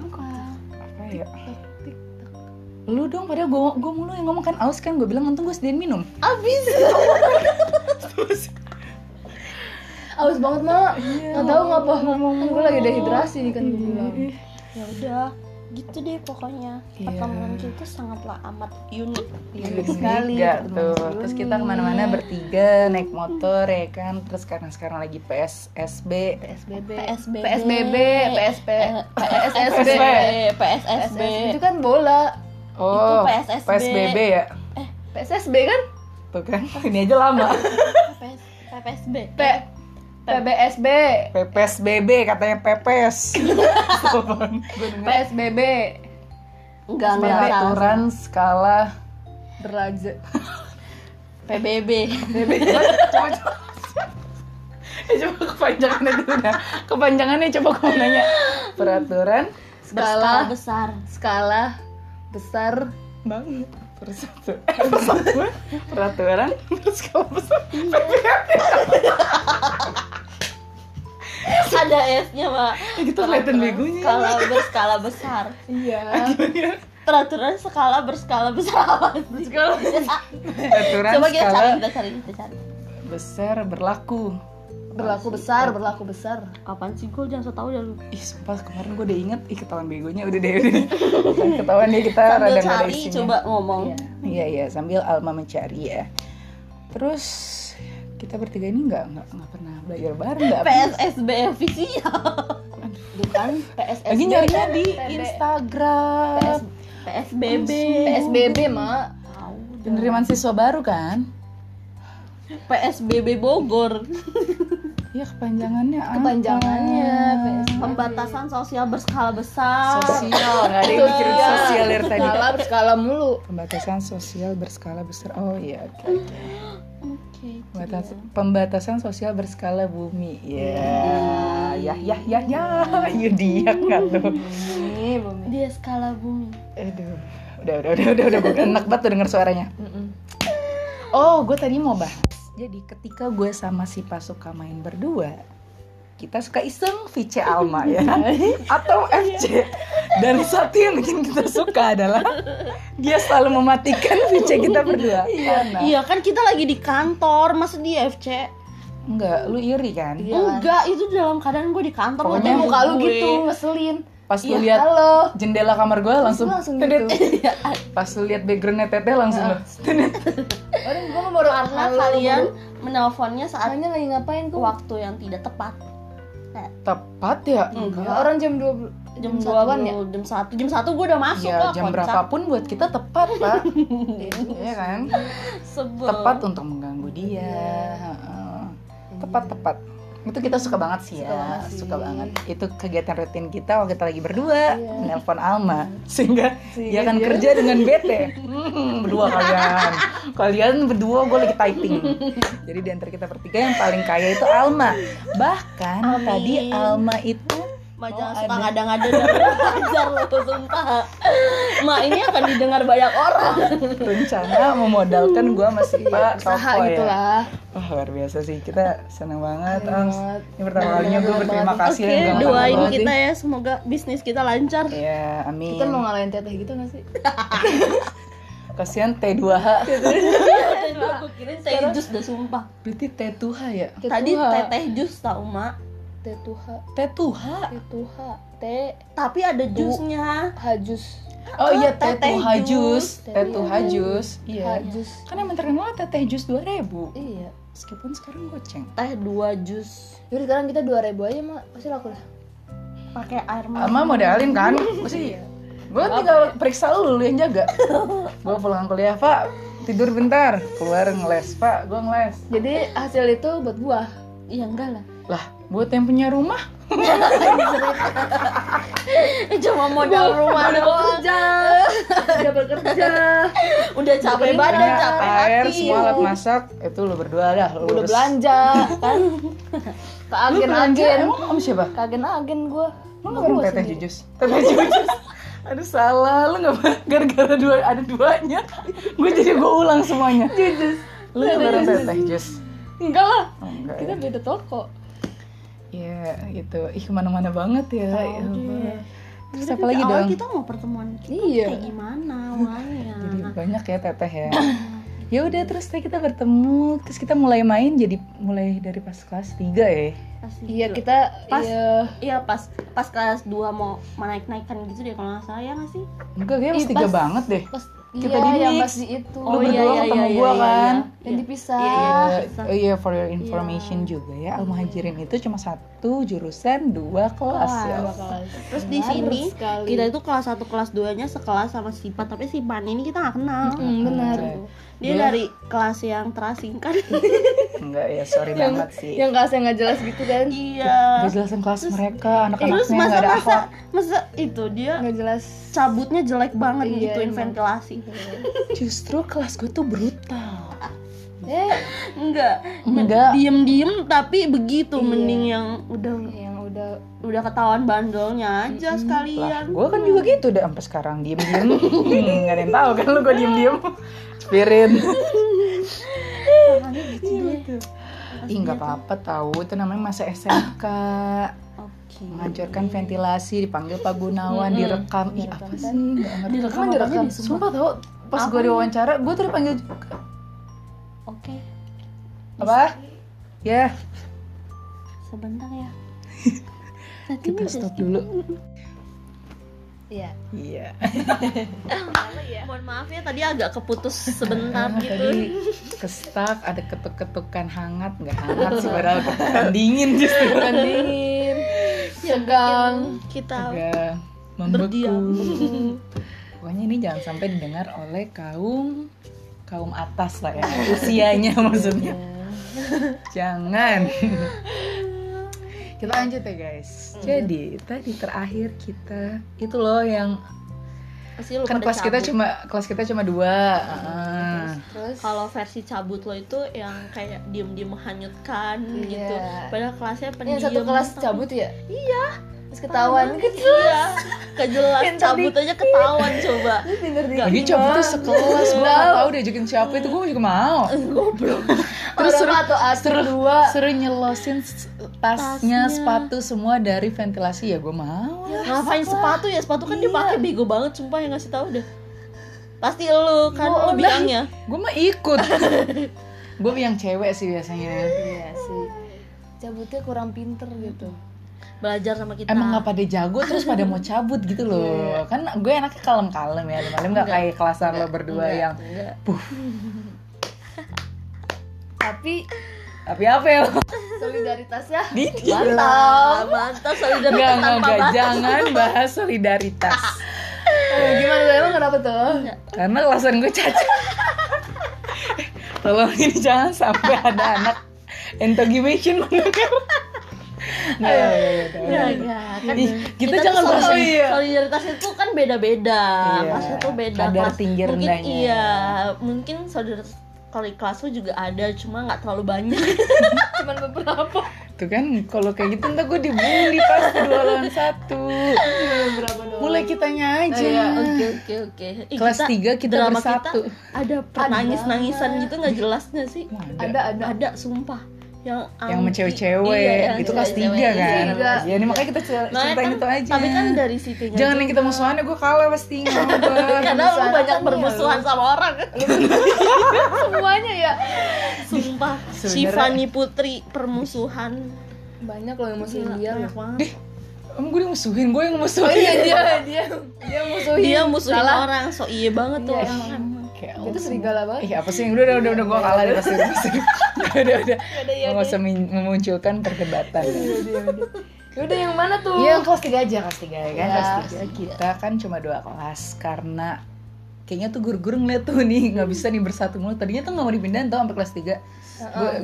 [SPEAKER 3] Apa?
[SPEAKER 1] apa ya? Lu dong padahal gue gue mulu yang ngomong kan aus kan gue bilang untung gue sediain minum.
[SPEAKER 3] Abis.
[SPEAKER 2] Aus banget, Mak. Enggak tahu ngapa. Kan gue lagi dehidrasi nih kan gue bilang.
[SPEAKER 3] ya udah, gitu deh pokoknya
[SPEAKER 1] Iya.
[SPEAKER 3] pertemuan kita sangatlah amat unik
[SPEAKER 1] Iya,
[SPEAKER 3] unik sekali
[SPEAKER 1] tiga
[SPEAKER 3] pertemuan
[SPEAKER 1] tuh. Terus kita
[SPEAKER 3] unik.
[SPEAKER 1] kemana-mana bertiga naik motor ya kan. Terus karena sekarang lagi PSSB.
[SPEAKER 4] PSBB
[SPEAKER 3] PSBB
[SPEAKER 4] PSBB PSP
[SPEAKER 3] eh,
[SPEAKER 4] kan
[SPEAKER 3] PSSB
[SPEAKER 1] PSSB.
[SPEAKER 3] PSSB
[SPEAKER 4] PSSB itu kan bola
[SPEAKER 1] Oh,
[SPEAKER 3] PSSB.
[SPEAKER 1] PSBB ya.
[SPEAKER 4] PSSB kan
[SPEAKER 1] Tuh kan. Ini aja lama.
[SPEAKER 3] PS- PPSB
[SPEAKER 4] P Eh, PBSB
[SPEAKER 1] PPSBB katanya pepes. Apaan?
[SPEAKER 4] PSBB
[SPEAKER 3] enggak enggak salah.
[SPEAKER 1] Pengaturan skala
[SPEAKER 4] derajat
[SPEAKER 3] PBB
[SPEAKER 1] coba coba Eh, coba kepanjangannya dulu dah kepanjangannya coba kamu nanya peraturan
[SPEAKER 3] skala
[SPEAKER 4] skala
[SPEAKER 3] besar
[SPEAKER 4] skala besar
[SPEAKER 1] banget persatu eh, persatuan peraturan skala besar
[SPEAKER 3] ada S-nya pak
[SPEAKER 1] Eh, gitu kelihatan begonya
[SPEAKER 3] skala berskala besar
[SPEAKER 4] iya
[SPEAKER 3] peraturan skala berskala besar apa sih
[SPEAKER 1] peraturan
[SPEAKER 3] coba kita
[SPEAKER 1] skala
[SPEAKER 3] cari kita cari kita cari
[SPEAKER 1] besar berlaku
[SPEAKER 4] berlaku besar berlaku besar
[SPEAKER 3] apaan sih gue jangan so tau dah lu
[SPEAKER 1] ih sumpah kemarin gue udah inget ih ketahuan begonya udah deh udah deh. ketahuan deh kita rada
[SPEAKER 3] sambil
[SPEAKER 1] nggak ada
[SPEAKER 3] cari
[SPEAKER 1] isinya
[SPEAKER 3] coba ngomong
[SPEAKER 1] Iya iya sambil Alma mencari ya. Terus kita bertiga ini nggak nggak nggak pernah belajar bareng nggak?
[SPEAKER 3] PSSB official
[SPEAKER 4] bukan PSSB
[SPEAKER 1] Lagi kan? nyarinya di
[SPEAKER 4] PB.
[SPEAKER 1] Instagram.
[SPEAKER 3] PSBB
[SPEAKER 4] PSBB mak
[SPEAKER 3] Tahu dah.
[SPEAKER 1] Penerimaan siswa baru kan?
[SPEAKER 3] PSBB Bogor
[SPEAKER 1] Iya kepanjangannya. apa?
[SPEAKER 4] kepanjangannya PSBB
[SPEAKER 3] pembatasan sosial berskala besar
[SPEAKER 1] Sosial nggak ada yang mikirin
[SPEAKER 4] Iya.
[SPEAKER 1] sosial dari tadi.
[SPEAKER 4] skala berskala mulu
[SPEAKER 1] Pembatasan sosial berskala besar. Oh iya oke. oke.
[SPEAKER 3] oke itu
[SPEAKER 1] Pembatas-
[SPEAKER 3] dia.
[SPEAKER 1] pembatasan sosial berskala bumi. Ya ya ya ya ya. Yudiak kan tuh.
[SPEAKER 4] ini bumi
[SPEAKER 3] dia skala bumi
[SPEAKER 1] Aduh, udah udah udah udah udah gue enak banget tuh denger suaranya. Oh, gue tadi mau bahas. Jadi ketika gue sama si Pak suka main berdua, kita suka iseng VC Alma ya kan? atau FC. Dan satu yang bikin kita suka adalah dia selalu mematikan VC kita berdua. Karena
[SPEAKER 3] iya kan kita lagi di kantor masa di FC
[SPEAKER 1] enggak, lu iri kan?
[SPEAKER 4] Iya.
[SPEAKER 3] enggak itu dalam keadaan gue di kantor
[SPEAKER 1] Pokoknya
[SPEAKER 4] Tapi
[SPEAKER 3] ngetemuin
[SPEAKER 4] muka lu
[SPEAKER 3] gue.
[SPEAKER 4] gitu ngeselin
[SPEAKER 1] Pas lu
[SPEAKER 4] Iya,
[SPEAKER 1] lihat
[SPEAKER 4] halo.
[SPEAKER 1] jendela kamar gue langsung,
[SPEAKER 4] Terus langsung
[SPEAKER 1] tedet.
[SPEAKER 4] gitu.
[SPEAKER 1] Pas lu lihat backgroundnya teteh langsung lu, tedet.
[SPEAKER 4] Orang gua mau baru
[SPEAKER 3] karena
[SPEAKER 4] halo,
[SPEAKER 3] kalian
[SPEAKER 4] baru-
[SPEAKER 3] menelponnya saat
[SPEAKER 4] Kalian lagi ngapain tuh?
[SPEAKER 3] waktu yang tidak tepat
[SPEAKER 1] Tepat ya?
[SPEAKER 4] Ya, orang jam 2
[SPEAKER 3] jam
[SPEAKER 4] Jam
[SPEAKER 3] satu
[SPEAKER 4] 2-an ya?
[SPEAKER 3] jam satu jam satu gue udah masuk
[SPEAKER 1] Ya,
[SPEAKER 3] kok
[SPEAKER 1] jam
[SPEAKER 3] kocak.
[SPEAKER 1] berapapun buat kita tepat, Pak. Iya kan?
[SPEAKER 3] sebel
[SPEAKER 1] Tepat untuk mengganggu
[SPEAKER 4] Iya.
[SPEAKER 1] dia. Heeh. Tepat, tepat. Itu kita suka banget sih ya,
[SPEAKER 4] Suka banget sih.
[SPEAKER 1] suka banget. Itu kegiatan rutin kita waktu kita lagi berdua,
[SPEAKER 4] Iya.
[SPEAKER 1] nelpon Alma, sehingga
[SPEAKER 4] Sehingga
[SPEAKER 1] dia akan
[SPEAKER 4] dia-
[SPEAKER 1] kerja dengan bete. Hmm, berdua kalian, kalian berdua gue lagi typing. Jadi di antara kita bertiga yang paling kaya itu Alma. Bahkan
[SPEAKER 3] Amin.
[SPEAKER 1] tadi Alma itu
[SPEAKER 3] Ma,
[SPEAKER 1] Oh,
[SPEAKER 3] jangan suka
[SPEAKER 1] ada.
[SPEAKER 3] ngada-ngada dan ajar lu sumpah Ma ini akan didengar banyak orang
[SPEAKER 1] rencana memodalkan gue masih Pak
[SPEAKER 4] usaha
[SPEAKER 1] toko
[SPEAKER 4] gitu
[SPEAKER 1] ya.
[SPEAKER 4] lah
[SPEAKER 1] Wah luar biasa sih kita senang banget Ang.
[SPEAKER 4] Seneng banget.
[SPEAKER 1] Ini pertama kalinya gue berterima kasih
[SPEAKER 3] Oke,
[SPEAKER 1] dan
[SPEAKER 3] doain kita ya semoga bisnis kita lancar
[SPEAKER 1] Ya amin.
[SPEAKER 4] Kita mau ngalahin teteh gitu gak sih?
[SPEAKER 1] Kasihan T2H.
[SPEAKER 3] aku kirain teh jus dah sumpah
[SPEAKER 1] Berarti T2H ya?
[SPEAKER 3] tadi teteh jus tau mak
[SPEAKER 4] Tetuha
[SPEAKER 1] T2H.
[SPEAKER 4] Tetuha T
[SPEAKER 3] tapi ada jusnya
[SPEAKER 4] Hajus
[SPEAKER 1] Oh iya
[SPEAKER 3] teteh
[SPEAKER 1] T2H jus.
[SPEAKER 3] jus.
[SPEAKER 1] T2H jus. Iya.
[SPEAKER 4] Hajus
[SPEAKER 1] Kan emang terkenal teteh jus 2000.
[SPEAKER 4] Iya
[SPEAKER 1] Meskipun sekarang goceng.
[SPEAKER 3] teh dua jus
[SPEAKER 4] Yaudah sekarang kita 2000 aja mak Pasti laku lah
[SPEAKER 3] pakai air mawar
[SPEAKER 1] Alma modalin kan? Masih. Gue tinggal periksa lu, lu yang jaga. gue pulang kuliah, Pak. Tidur bentar. Keluar ngeles, Pak. Gue ngeles.
[SPEAKER 4] Jadi hasil itu buat buah
[SPEAKER 3] iya enggak lah
[SPEAKER 1] Lah, buat yang punya rumah,
[SPEAKER 3] cuma modal rumah doang
[SPEAKER 4] Udah bekerja
[SPEAKER 3] udah capek badan
[SPEAKER 1] punya
[SPEAKER 3] capek
[SPEAKER 1] air,
[SPEAKER 3] hati
[SPEAKER 1] semua alat masak, itu lu berdua dah. Lu
[SPEAKER 4] Udah
[SPEAKER 1] urus.
[SPEAKER 4] belanja
[SPEAKER 3] kan
[SPEAKER 4] Ke
[SPEAKER 1] Lu belanja,
[SPEAKER 4] agen-agen
[SPEAKER 1] emang sama siapa?
[SPEAKER 4] Kagen-agen gue
[SPEAKER 1] Lu nggak bareng teteh jujus? Teteh jujus? Aduh salah, lu nggak bareng gara-gara dua ada duanya. gue jadi gue ulang semuanya. Jujus. Lu nggak bareng teteh jujus?
[SPEAKER 4] Enggak lah
[SPEAKER 1] Oh, enggak
[SPEAKER 4] Kita
[SPEAKER 1] ya.
[SPEAKER 4] beda toko
[SPEAKER 1] Iya, gitu. Ih kemana-mana banget ya. ya Allah. Terus apa lagi
[SPEAKER 3] awal
[SPEAKER 1] dong?
[SPEAKER 3] kita mau pertemuan kita
[SPEAKER 4] Iya.
[SPEAKER 3] kayak gimana awalnya
[SPEAKER 1] Jadi
[SPEAKER 3] Nah,
[SPEAKER 1] banyak ya teteh ya. ya udah terus kayak kita bertemu terus kita mulai main jadi mulai dari pas kelas 3 ya
[SPEAKER 3] Pasti
[SPEAKER 4] Iya
[SPEAKER 3] gitu.
[SPEAKER 4] kita
[SPEAKER 3] Pas.
[SPEAKER 4] Iya.
[SPEAKER 3] Iya pas pas kelas 2 mau naik naikan gitu deh kalau nggak salah ya nggak sih?
[SPEAKER 1] enggak kayaknya
[SPEAKER 4] Ih,
[SPEAKER 1] pas 3
[SPEAKER 4] pas-
[SPEAKER 1] banget deh
[SPEAKER 4] Pas
[SPEAKER 1] Kita
[SPEAKER 4] iya,
[SPEAKER 1] di
[SPEAKER 4] yang
[SPEAKER 1] mix.
[SPEAKER 4] pas di iya, itu.
[SPEAKER 1] Oh, Lu berdua ketemu gua kan?
[SPEAKER 4] Yang dipisah.
[SPEAKER 3] Iya, iya,
[SPEAKER 1] Eh,
[SPEAKER 3] bisa.
[SPEAKER 1] oh iya for your information juga ya Al Muhajirin itu cuma satu jurusan dua kelas ya
[SPEAKER 4] Dua kelas.
[SPEAKER 3] Terus di
[SPEAKER 4] Benar
[SPEAKER 3] sini
[SPEAKER 4] sekali.
[SPEAKER 3] Iya. kita itu kelas 1 kelas 2-nya sekelas sama Sipa, tapi Sipan ini kita nggak kenal. Gitu.
[SPEAKER 4] Hmm, benar.
[SPEAKER 1] Betul.
[SPEAKER 3] Dia
[SPEAKER 1] Dia-
[SPEAKER 3] dari kelas yang terasingkan.
[SPEAKER 1] enggak ya sorry
[SPEAKER 4] Yang-
[SPEAKER 1] banget sih
[SPEAKER 4] Yang kelasnya nggak jelas gitu kan?
[SPEAKER 3] iya.
[SPEAKER 1] kejelasan kelas
[SPEAKER 3] Terus-
[SPEAKER 1] mereka
[SPEAKER 3] Terus
[SPEAKER 1] anak-anaknya nggak ada akhlak
[SPEAKER 3] masa-masa masa itu dia
[SPEAKER 4] Nggak jelas.
[SPEAKER 3] cabutnya jelek banget gitu,
[SPEAKER 4] Iya,
[SPEAKER 3] gituin
[SPEAKER 4] emang.
[SPEAKER 3] ventilasi.
[SPEAKER 1] justru kelas gue tuh brutal
[SPEAKER 4] Eh,
[SPEAKER 3] Enggak. Nah,
[SPEAKER 1] Enggak.
[SPEAKER 3] Diem-diem tapi begitu
[SPEAKER 4] Iya.
[SPEAKER 3] mending yang udah
[SPEAKER 4] yang udah
[SPEAKER 3] udah ketahuan bandolnya aja
[SPEAKER 1] lah
[SPEAKER 3] sekalian.
[SPEAKER 1] gue kan juga gitu udah sampai sekarang diem-diem Hmm, nggak ada yang tahu kan lu gue diem-diem spirit
[SPEAKER 3] Iya
[SPEAKER 1] Ih nggak
[SPEAKER 3] gitu.
[SPEAKER 1] apa-apa tahu itu namanya masa SMK
[SPEAKER 3] Oke.
[SPEAKER 1] menghancurkan ventilasi dipanggil Pak Gunawan direkam ih apa sih nggak ngerti
[SPEAKER 3] Direkam
[SPEAKER 1] Emang
[SPEAKER 3] apa
[SPEAKER 1] direkam
[SPEAKER 3] sih,
[SPEAKER 1] sumpah tau pas gue diwawancara gue tuh dipanggil juga
[SPEAKER 3] Oke.
[SPEAKER 1] apa ya
[SPEAKER 3] Sebentar ya. Nanti
[SPEAKER 1] kita stop dulu
[SPEAKER 4] Iya.
[SPEAKER 1] iya
[SPEAKER 3] Mohon maaf ya tadi agak keputus sebentar
[SPEAKER 1] tadi
[SPEAKER 3] gitu.
[SPEAKER 1] kestak ada ketuk-ketukan hangat nggak hangat sih padahal ketukan dingin justru
[SPEAKER 4] Bukan dingin. Segang.
[SPEAKER 3] Kita
[SPEAKER 1] agak
[SPEAKER 3] Berdiam.
[SPEAKER 1] membeku pokoknya ini jangan sampai didengar oleh kaum kaum atas lah ya usianya maksudnya jangan kita lanjut ya guys jadi tadi terakhir kita itu loh yang
[SPEAKER 3] pasti lu
[SPEAKER 1] kan
[SPEAKER 3] pada
[SPEAKER 1] kelas kita
[SPEAKER 3] cabut.
[SPEAKER 1] cuma kelas kita cuma dua Ah.
[SPEAKER 4] Terus
[SPEAKER 3] kalau versi cabut lo itu yang kayak diem-diem menghanyutkan
[SPEAKER 4] Iya.
[SPEAKER 3] gitu. Padahal kelasnya pendiam.
[SPEAKER 4] yang satu kelas
[SPEAKER 3] tapi-
[SPEAKER 4] cabut ya? Iya. Terus ketahuan
[SPEAKER 3] Ketahuan
[SPEAKER 4] gitu.
[SPEAKER 3] Iya. Kejelas
[SPEAKER 4] Yang tadi-
[SPEAKER 3] cabut aja ketahuan coba.
[SPEAKER 4] Bener deh.
[SPEAKER 1] lagi cabut tuh sekelas gue gak tau diajakin siapa itu gue juga mau
[SPEAKER 3] Goblok.
[SPEAKER 1] terus
[SPEAKER 4] Orang
[SPEAKER 1] suruh-
[SPEAKER 4] atau atur
[SPEAKER 1] suruh-
[SPEAKER 4] dua.
[SPEAKER 1] suruh nyelosin s-
[SPEAKER 3] Tasnya.
[SPEAKER 1] tasnya, sepatu semua dari ventilasi ya gue mau
[SPEAKER 3] Ngapain sepatu ya? Sepatu kan dipakai bego banget sumpah yang ngasih tahu deh. Pasti lu kan lo bilangnya.
[SPEAKER 1] gue mah ikut gue yang cewek sih biasanya
[SPEAKER 4] Iya sih. Cabutnya kurang pinter gitu.
[SPEAKER 3] Belajar sama kita.
[SPEAKER 1] emang nggak pada jago terus pada mau cabut gitu loh kan gue enaknya kalem-kalem ya malam nggak kayak kelasan lo berdua yang
[SPEAKER 3] Enggak.
[SPEAKER 4] Tapi
[SPEAKER 1] tapi apa ya lo
[SPEAKER 4] solidaritasnya
[SPEAKER 1] dikit
[SPEAKER 3] Mantap,
[SPEAKER 1] nggak
[SPEAKER 3] mantap Ah, solidaritas
[SPEAKER 1] nggak
[SPEAKER 3] tanpa
[SPEAKER 1] nggak
[SPEAKER 3] batas.
[SPEAKER 1] jangan bahas solidaritas
[SPEAKER 4] Oh, gimana tuh? Emang kenapa tuh?
[SPEAKER 1] karena kelasan gue cacat tolong ini jangan sampai ada anak intoxication mendengar Nggak, nggak, nggak, nggak,
[SPEAKER 3] Ya,
[SPEAKER 1] nggak.
[SPEAKER 3] ya.
[SPEAKER 1] Ih, kita jangan
[SPEAKER 3] tuh iya.
[SPEAKER 1] bahas
[SPEAKER 3] solidar-
[SPEAKER 1] yang-
[SPEAKER 3] solidaritas itu kan beda-beda
[SPEAKER 1] Iya.
[SPEAKER 3] kelasnya tuh beda
[SPEAKER 1] Kadar tinggi
[SPEAKER 3] mungkin
[SPEAKER 1] rendahnya.
[SPEAKER 3] iya mungkin solidaritas kalau di kelas lu juga ada cuma nggak terlalu banyak
[SPEAKER 4] Cuman beberapa.
[SPEAKER 1] Tuh kan kalau kayak gitu ntar gue dibully pas dua lawan satu
[SPEAKER 4] Beberapa doang.
[SPEAKER 1] Mulai kitanya aja
[SPEAKER 3] oke oke oke Ih,
[SPEAKER 1] Ah. Kelas tiga kita
[SPEAKER 3] drama
[SPEAKER 1] bersatu.
[SPEAKER 3] kita ada nangis nangisan gitu nggak jelasnya sih
[SPEAKER 1] Wah,
[SPEAKER 4] Ada ada.
[SPEAKER 3] ada sumpah yang
[SPEAKER 1] Yang
[SPEAKER 3] anti-
[SPEAKER 1] sama cewek-cewek
[SPEAKER 3] iya, yang
[SPEAKER 1] Itu kelas
[SPEAKER 3] cewek-cewek.
[SPEAKER 1] tiga kan
[SPEAKER 4] Tiga.
[SPEAKER 1] Ya ini makanya kita cer-
[SPEAKER 3] Makanya
[SPEAKER 1] ceritain
[SPEAKER 3] kan-
[SPEAKER 1] itu aja
[SPEAKER 3] tapi kan dari situ
[SPEAKER 1] Jangan yang kita musuhannya gue kalah pasti nggak mau gua.
[SPEAKER 3] karena lu banyak bermusuhan sama orang
[SPEAKER 1] Iya.
[SPEAKER 4] Semuanya ya.
[SPEAKER 3] sumpah
[SPEAKER 1] Sebenarnya-
[SPEAKER 3] Shivani Putri permusuhan
[SPEAKER 4] Banyak loh yang
[SPEAKER 1] Iya,
[SPEAKER 4] musuhin
[SPEAKER 3] Gila,
[SPEAKER 4] dia.
[SPEAKER 3] banyak
[SPEAKER 4] loh.
[SPEAKER 3] banget.
[SPEAKER 1] Emang gue dimusuhin, gue yang musuhin
[SPEAKER 4] Oh iya dia dia dia musuhin.
[SPEAKER 3] dia musuhin
[SPEAKER 4] Salah. Ya
[SPEAKER 3] orang so iya banget tuh
[SPEAKER 4] Iya,
[SPEAKER 3] emang.
[SPEAKER 1] Kayak
[SPEAKER 4] Dia tuh serigala banget.
[SPEAKER 1] Ih apa sih? Udah udah udah, udah gue kalah deh pasti pasti. Udah udah.
[SPEAKER 4] ada,
[SPEAKER 3] Iya,
[SPEAKER 4] ya,
[SPEAKER 1] Gak usah min- memunculkan perdebatan.
[SPEAKER 4] Yaudah yang mana tuh?
[SPEAKER 1] Iya kelas 3 aja kelas 3 ya kan
[SPEAKER 4] Ya,
[SPEAKER 1] kelas 3 kita kan cuma dua kelas karena kayaknya tuh guru-guru ngeliat tuh nih nggak bisa nih bersatu mulu tadinya tuh nggak mau dipindahin tau sampai kelas 3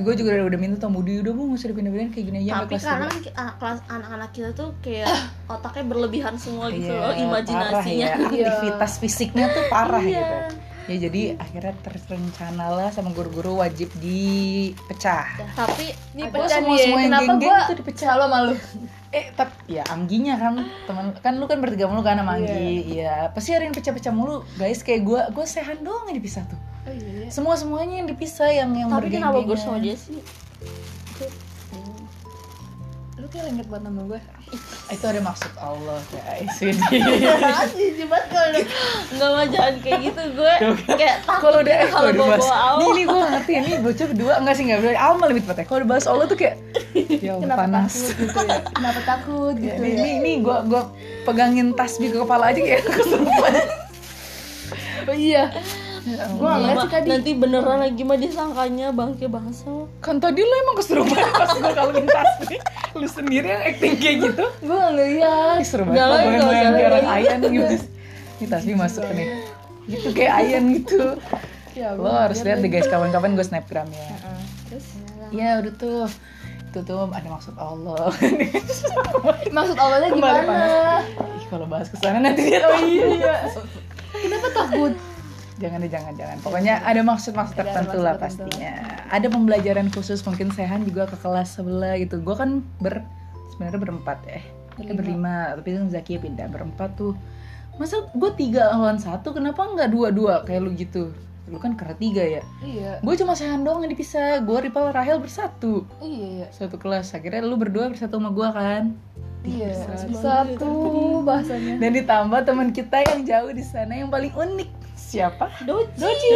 [SPEAKER 1] gue juga udah, udah minta tau Budi udah bu nggak usah dipindah-pindahin kayak gini aja sampai
[SPEAKER 3] tapi
[SPEAKER 1] kelas
[SPEAKER 3] sekarang ki- ah, kelas anak-anak kita tuh kayak otaknya berlebihan semua
[SPEAKER 1] 3
[SPEAKER 3] gitu loh imajinasinya
[SPEAKER 1] Iya, parah ya. aktivitas fisiknya tuh parah gitu ya jadi akhirnya terrencanalah sama guru-guru wajib dipecah
[SPEAKER 3] tapi
[SPEAKER 4] Ini
[SPEAKER 1] Ada
[SPEAKER 4] pecah
[SPEAKER 1] semua-
[SPEAKER 4] nih.
[SPEAKER 1] semua yang
[SPEAKER 4] Kenapa
[SPEAKER 1] geng-geng
[SPEAKER 4] gua
[SPEAKER 1] tuh
[SPEAKER 4] dipecah lo malu?
[SPEAKER 1] eh tapi ya Angginya kan teman kan lu kan bertiga mulu kan sama Anggi ya pasti ada yang pecah-pecah mulu guys kayak gue gue sehan doang yang dipisah tuh
[SPEAKER 4] Oh iya.
[SPEAKER 1] semua semuanya yang dipisah yang yang
[SPEAKER 3] tapi kenapa gue
[SPEAKER 1] bergenggengan.
[SPEAKER 3] sama dia sih
[SPEAKER 4] Lu kan dia lengket banget nama gue
[SPEAKER 1] Itu ada maksud Allah guys.
[SPEAKER 3] Masih jibat kalau udah nggak mau jalan kayak gitu gue kayak takut
[SPEAKER 1] kalau udah eh,
[SPEAKER 3] gitu kalau
[SPEAKER 1] kalau udah
[SPEAKER 3] bawa
[SPEAKER 1] bahas
[SPEAKER 3] bawa
[SPEAKER 1] nih
[SPEAKER 3] Allah.
[SPEAKER 1] nih gue ngerti ya, ini bocah kedua enggak sih enggak berarti Alma lebih tepatnya kalau udah bahas Allah tuh kayak ya Allah,
[SPEAKER 4] kenapa
[SPEAKER 1] panas
[SPEAKER 4] takut gitu ya kenapa takut gitu
[SPEAKER 1] ini
[SPEAKER 4] ya
[SPEAKER 1] ini ini gue gue pegangin tasbih ke kepala aja kayak kesurupan
[SPEAKER 4] oh, iya gue
[SPEAKER 3] Iya,
[SPEAKER 4] ngeliat
[SPEAKER 3] Ma.
[SPEAKER 4] sih tadi
[SPEAKER 3] nanti beneran lagi mah disangkanya bangke bangsa
[SPEAKER 1] kan tadi lo emang kesurupan pas gue kalungin tasbih lu sendiri yang acting kayak gitu
[SPEAKER 4] gue ngeliat
[SPEAKER 1] Ih, seru banget Lo
[SPEAKER 3] Jalan, jalan,
[SPEAKER 1] bayang-bayang
[SPEAKER 3] jalan,
[SPEAKER 1] biaran
[SPEAKER 3] jalan.
[SPEAKER 1] Ayan gitu ini tasbih masuk ke nih gitu kayak Ayan gitu
[SPEAKER 4] ya
[SPEAKER 1] lo harus lihat iya deh guys kapan-kapan gue snapgram ya
[SPEAKER 4] Ah, terus
[SPEAKER 1] ya udah tuh itu tuh ada maksud Allah
[SPEAKER 4] maksud awalnya
[SPEAKER 1] Kembali
[SPEAKER 4] gimana
[SPEAKER 1] Ih, kalau bahas kesana nanti dia oh, iya,
[SPEAKER 4] kenapa takut
[SPEAKER 1] jangan deh jangan jangan pokoknya ada maksud maksud
[SPEAKER 4] Ada
[SPEAKER 1] tertentu
[SPEAKER 4] maksud
[SPEAKER 1] lah
[SPEAKER 4] tertentu.
[SPEAKER 1] pastinya ada pembelajaran khusus mungkin sehan juga ke kelas sebelah gitu gue kan ber sebenarnya berempat ya eh berlima tapi kan Zaki pindah berempat tuh masa gue tiga lawan satu kenapa nggak dua dua kayak lu gitu lu kan karena tiga ya
[SPEAKER 4] iya
[SPEAKER 1] gue cuma sehan doang yang dipisah gue Ripal Rahel bersatu
[SPEAKER 4] iya
[SPEAKER 1] satu kelas akhirnya lu berdua bersatu sama gue kan
[SPEAKER 4] iya
[SPEAKER 1] Satu.
[SPEAKER 4] satu bahasanya
[SPEAKER 1] dan ditambah teman kita yang jauh di sana yang paling unik siapa
[SPEAKER 3] Doji Eh,
[SPEAKER 1] Doci.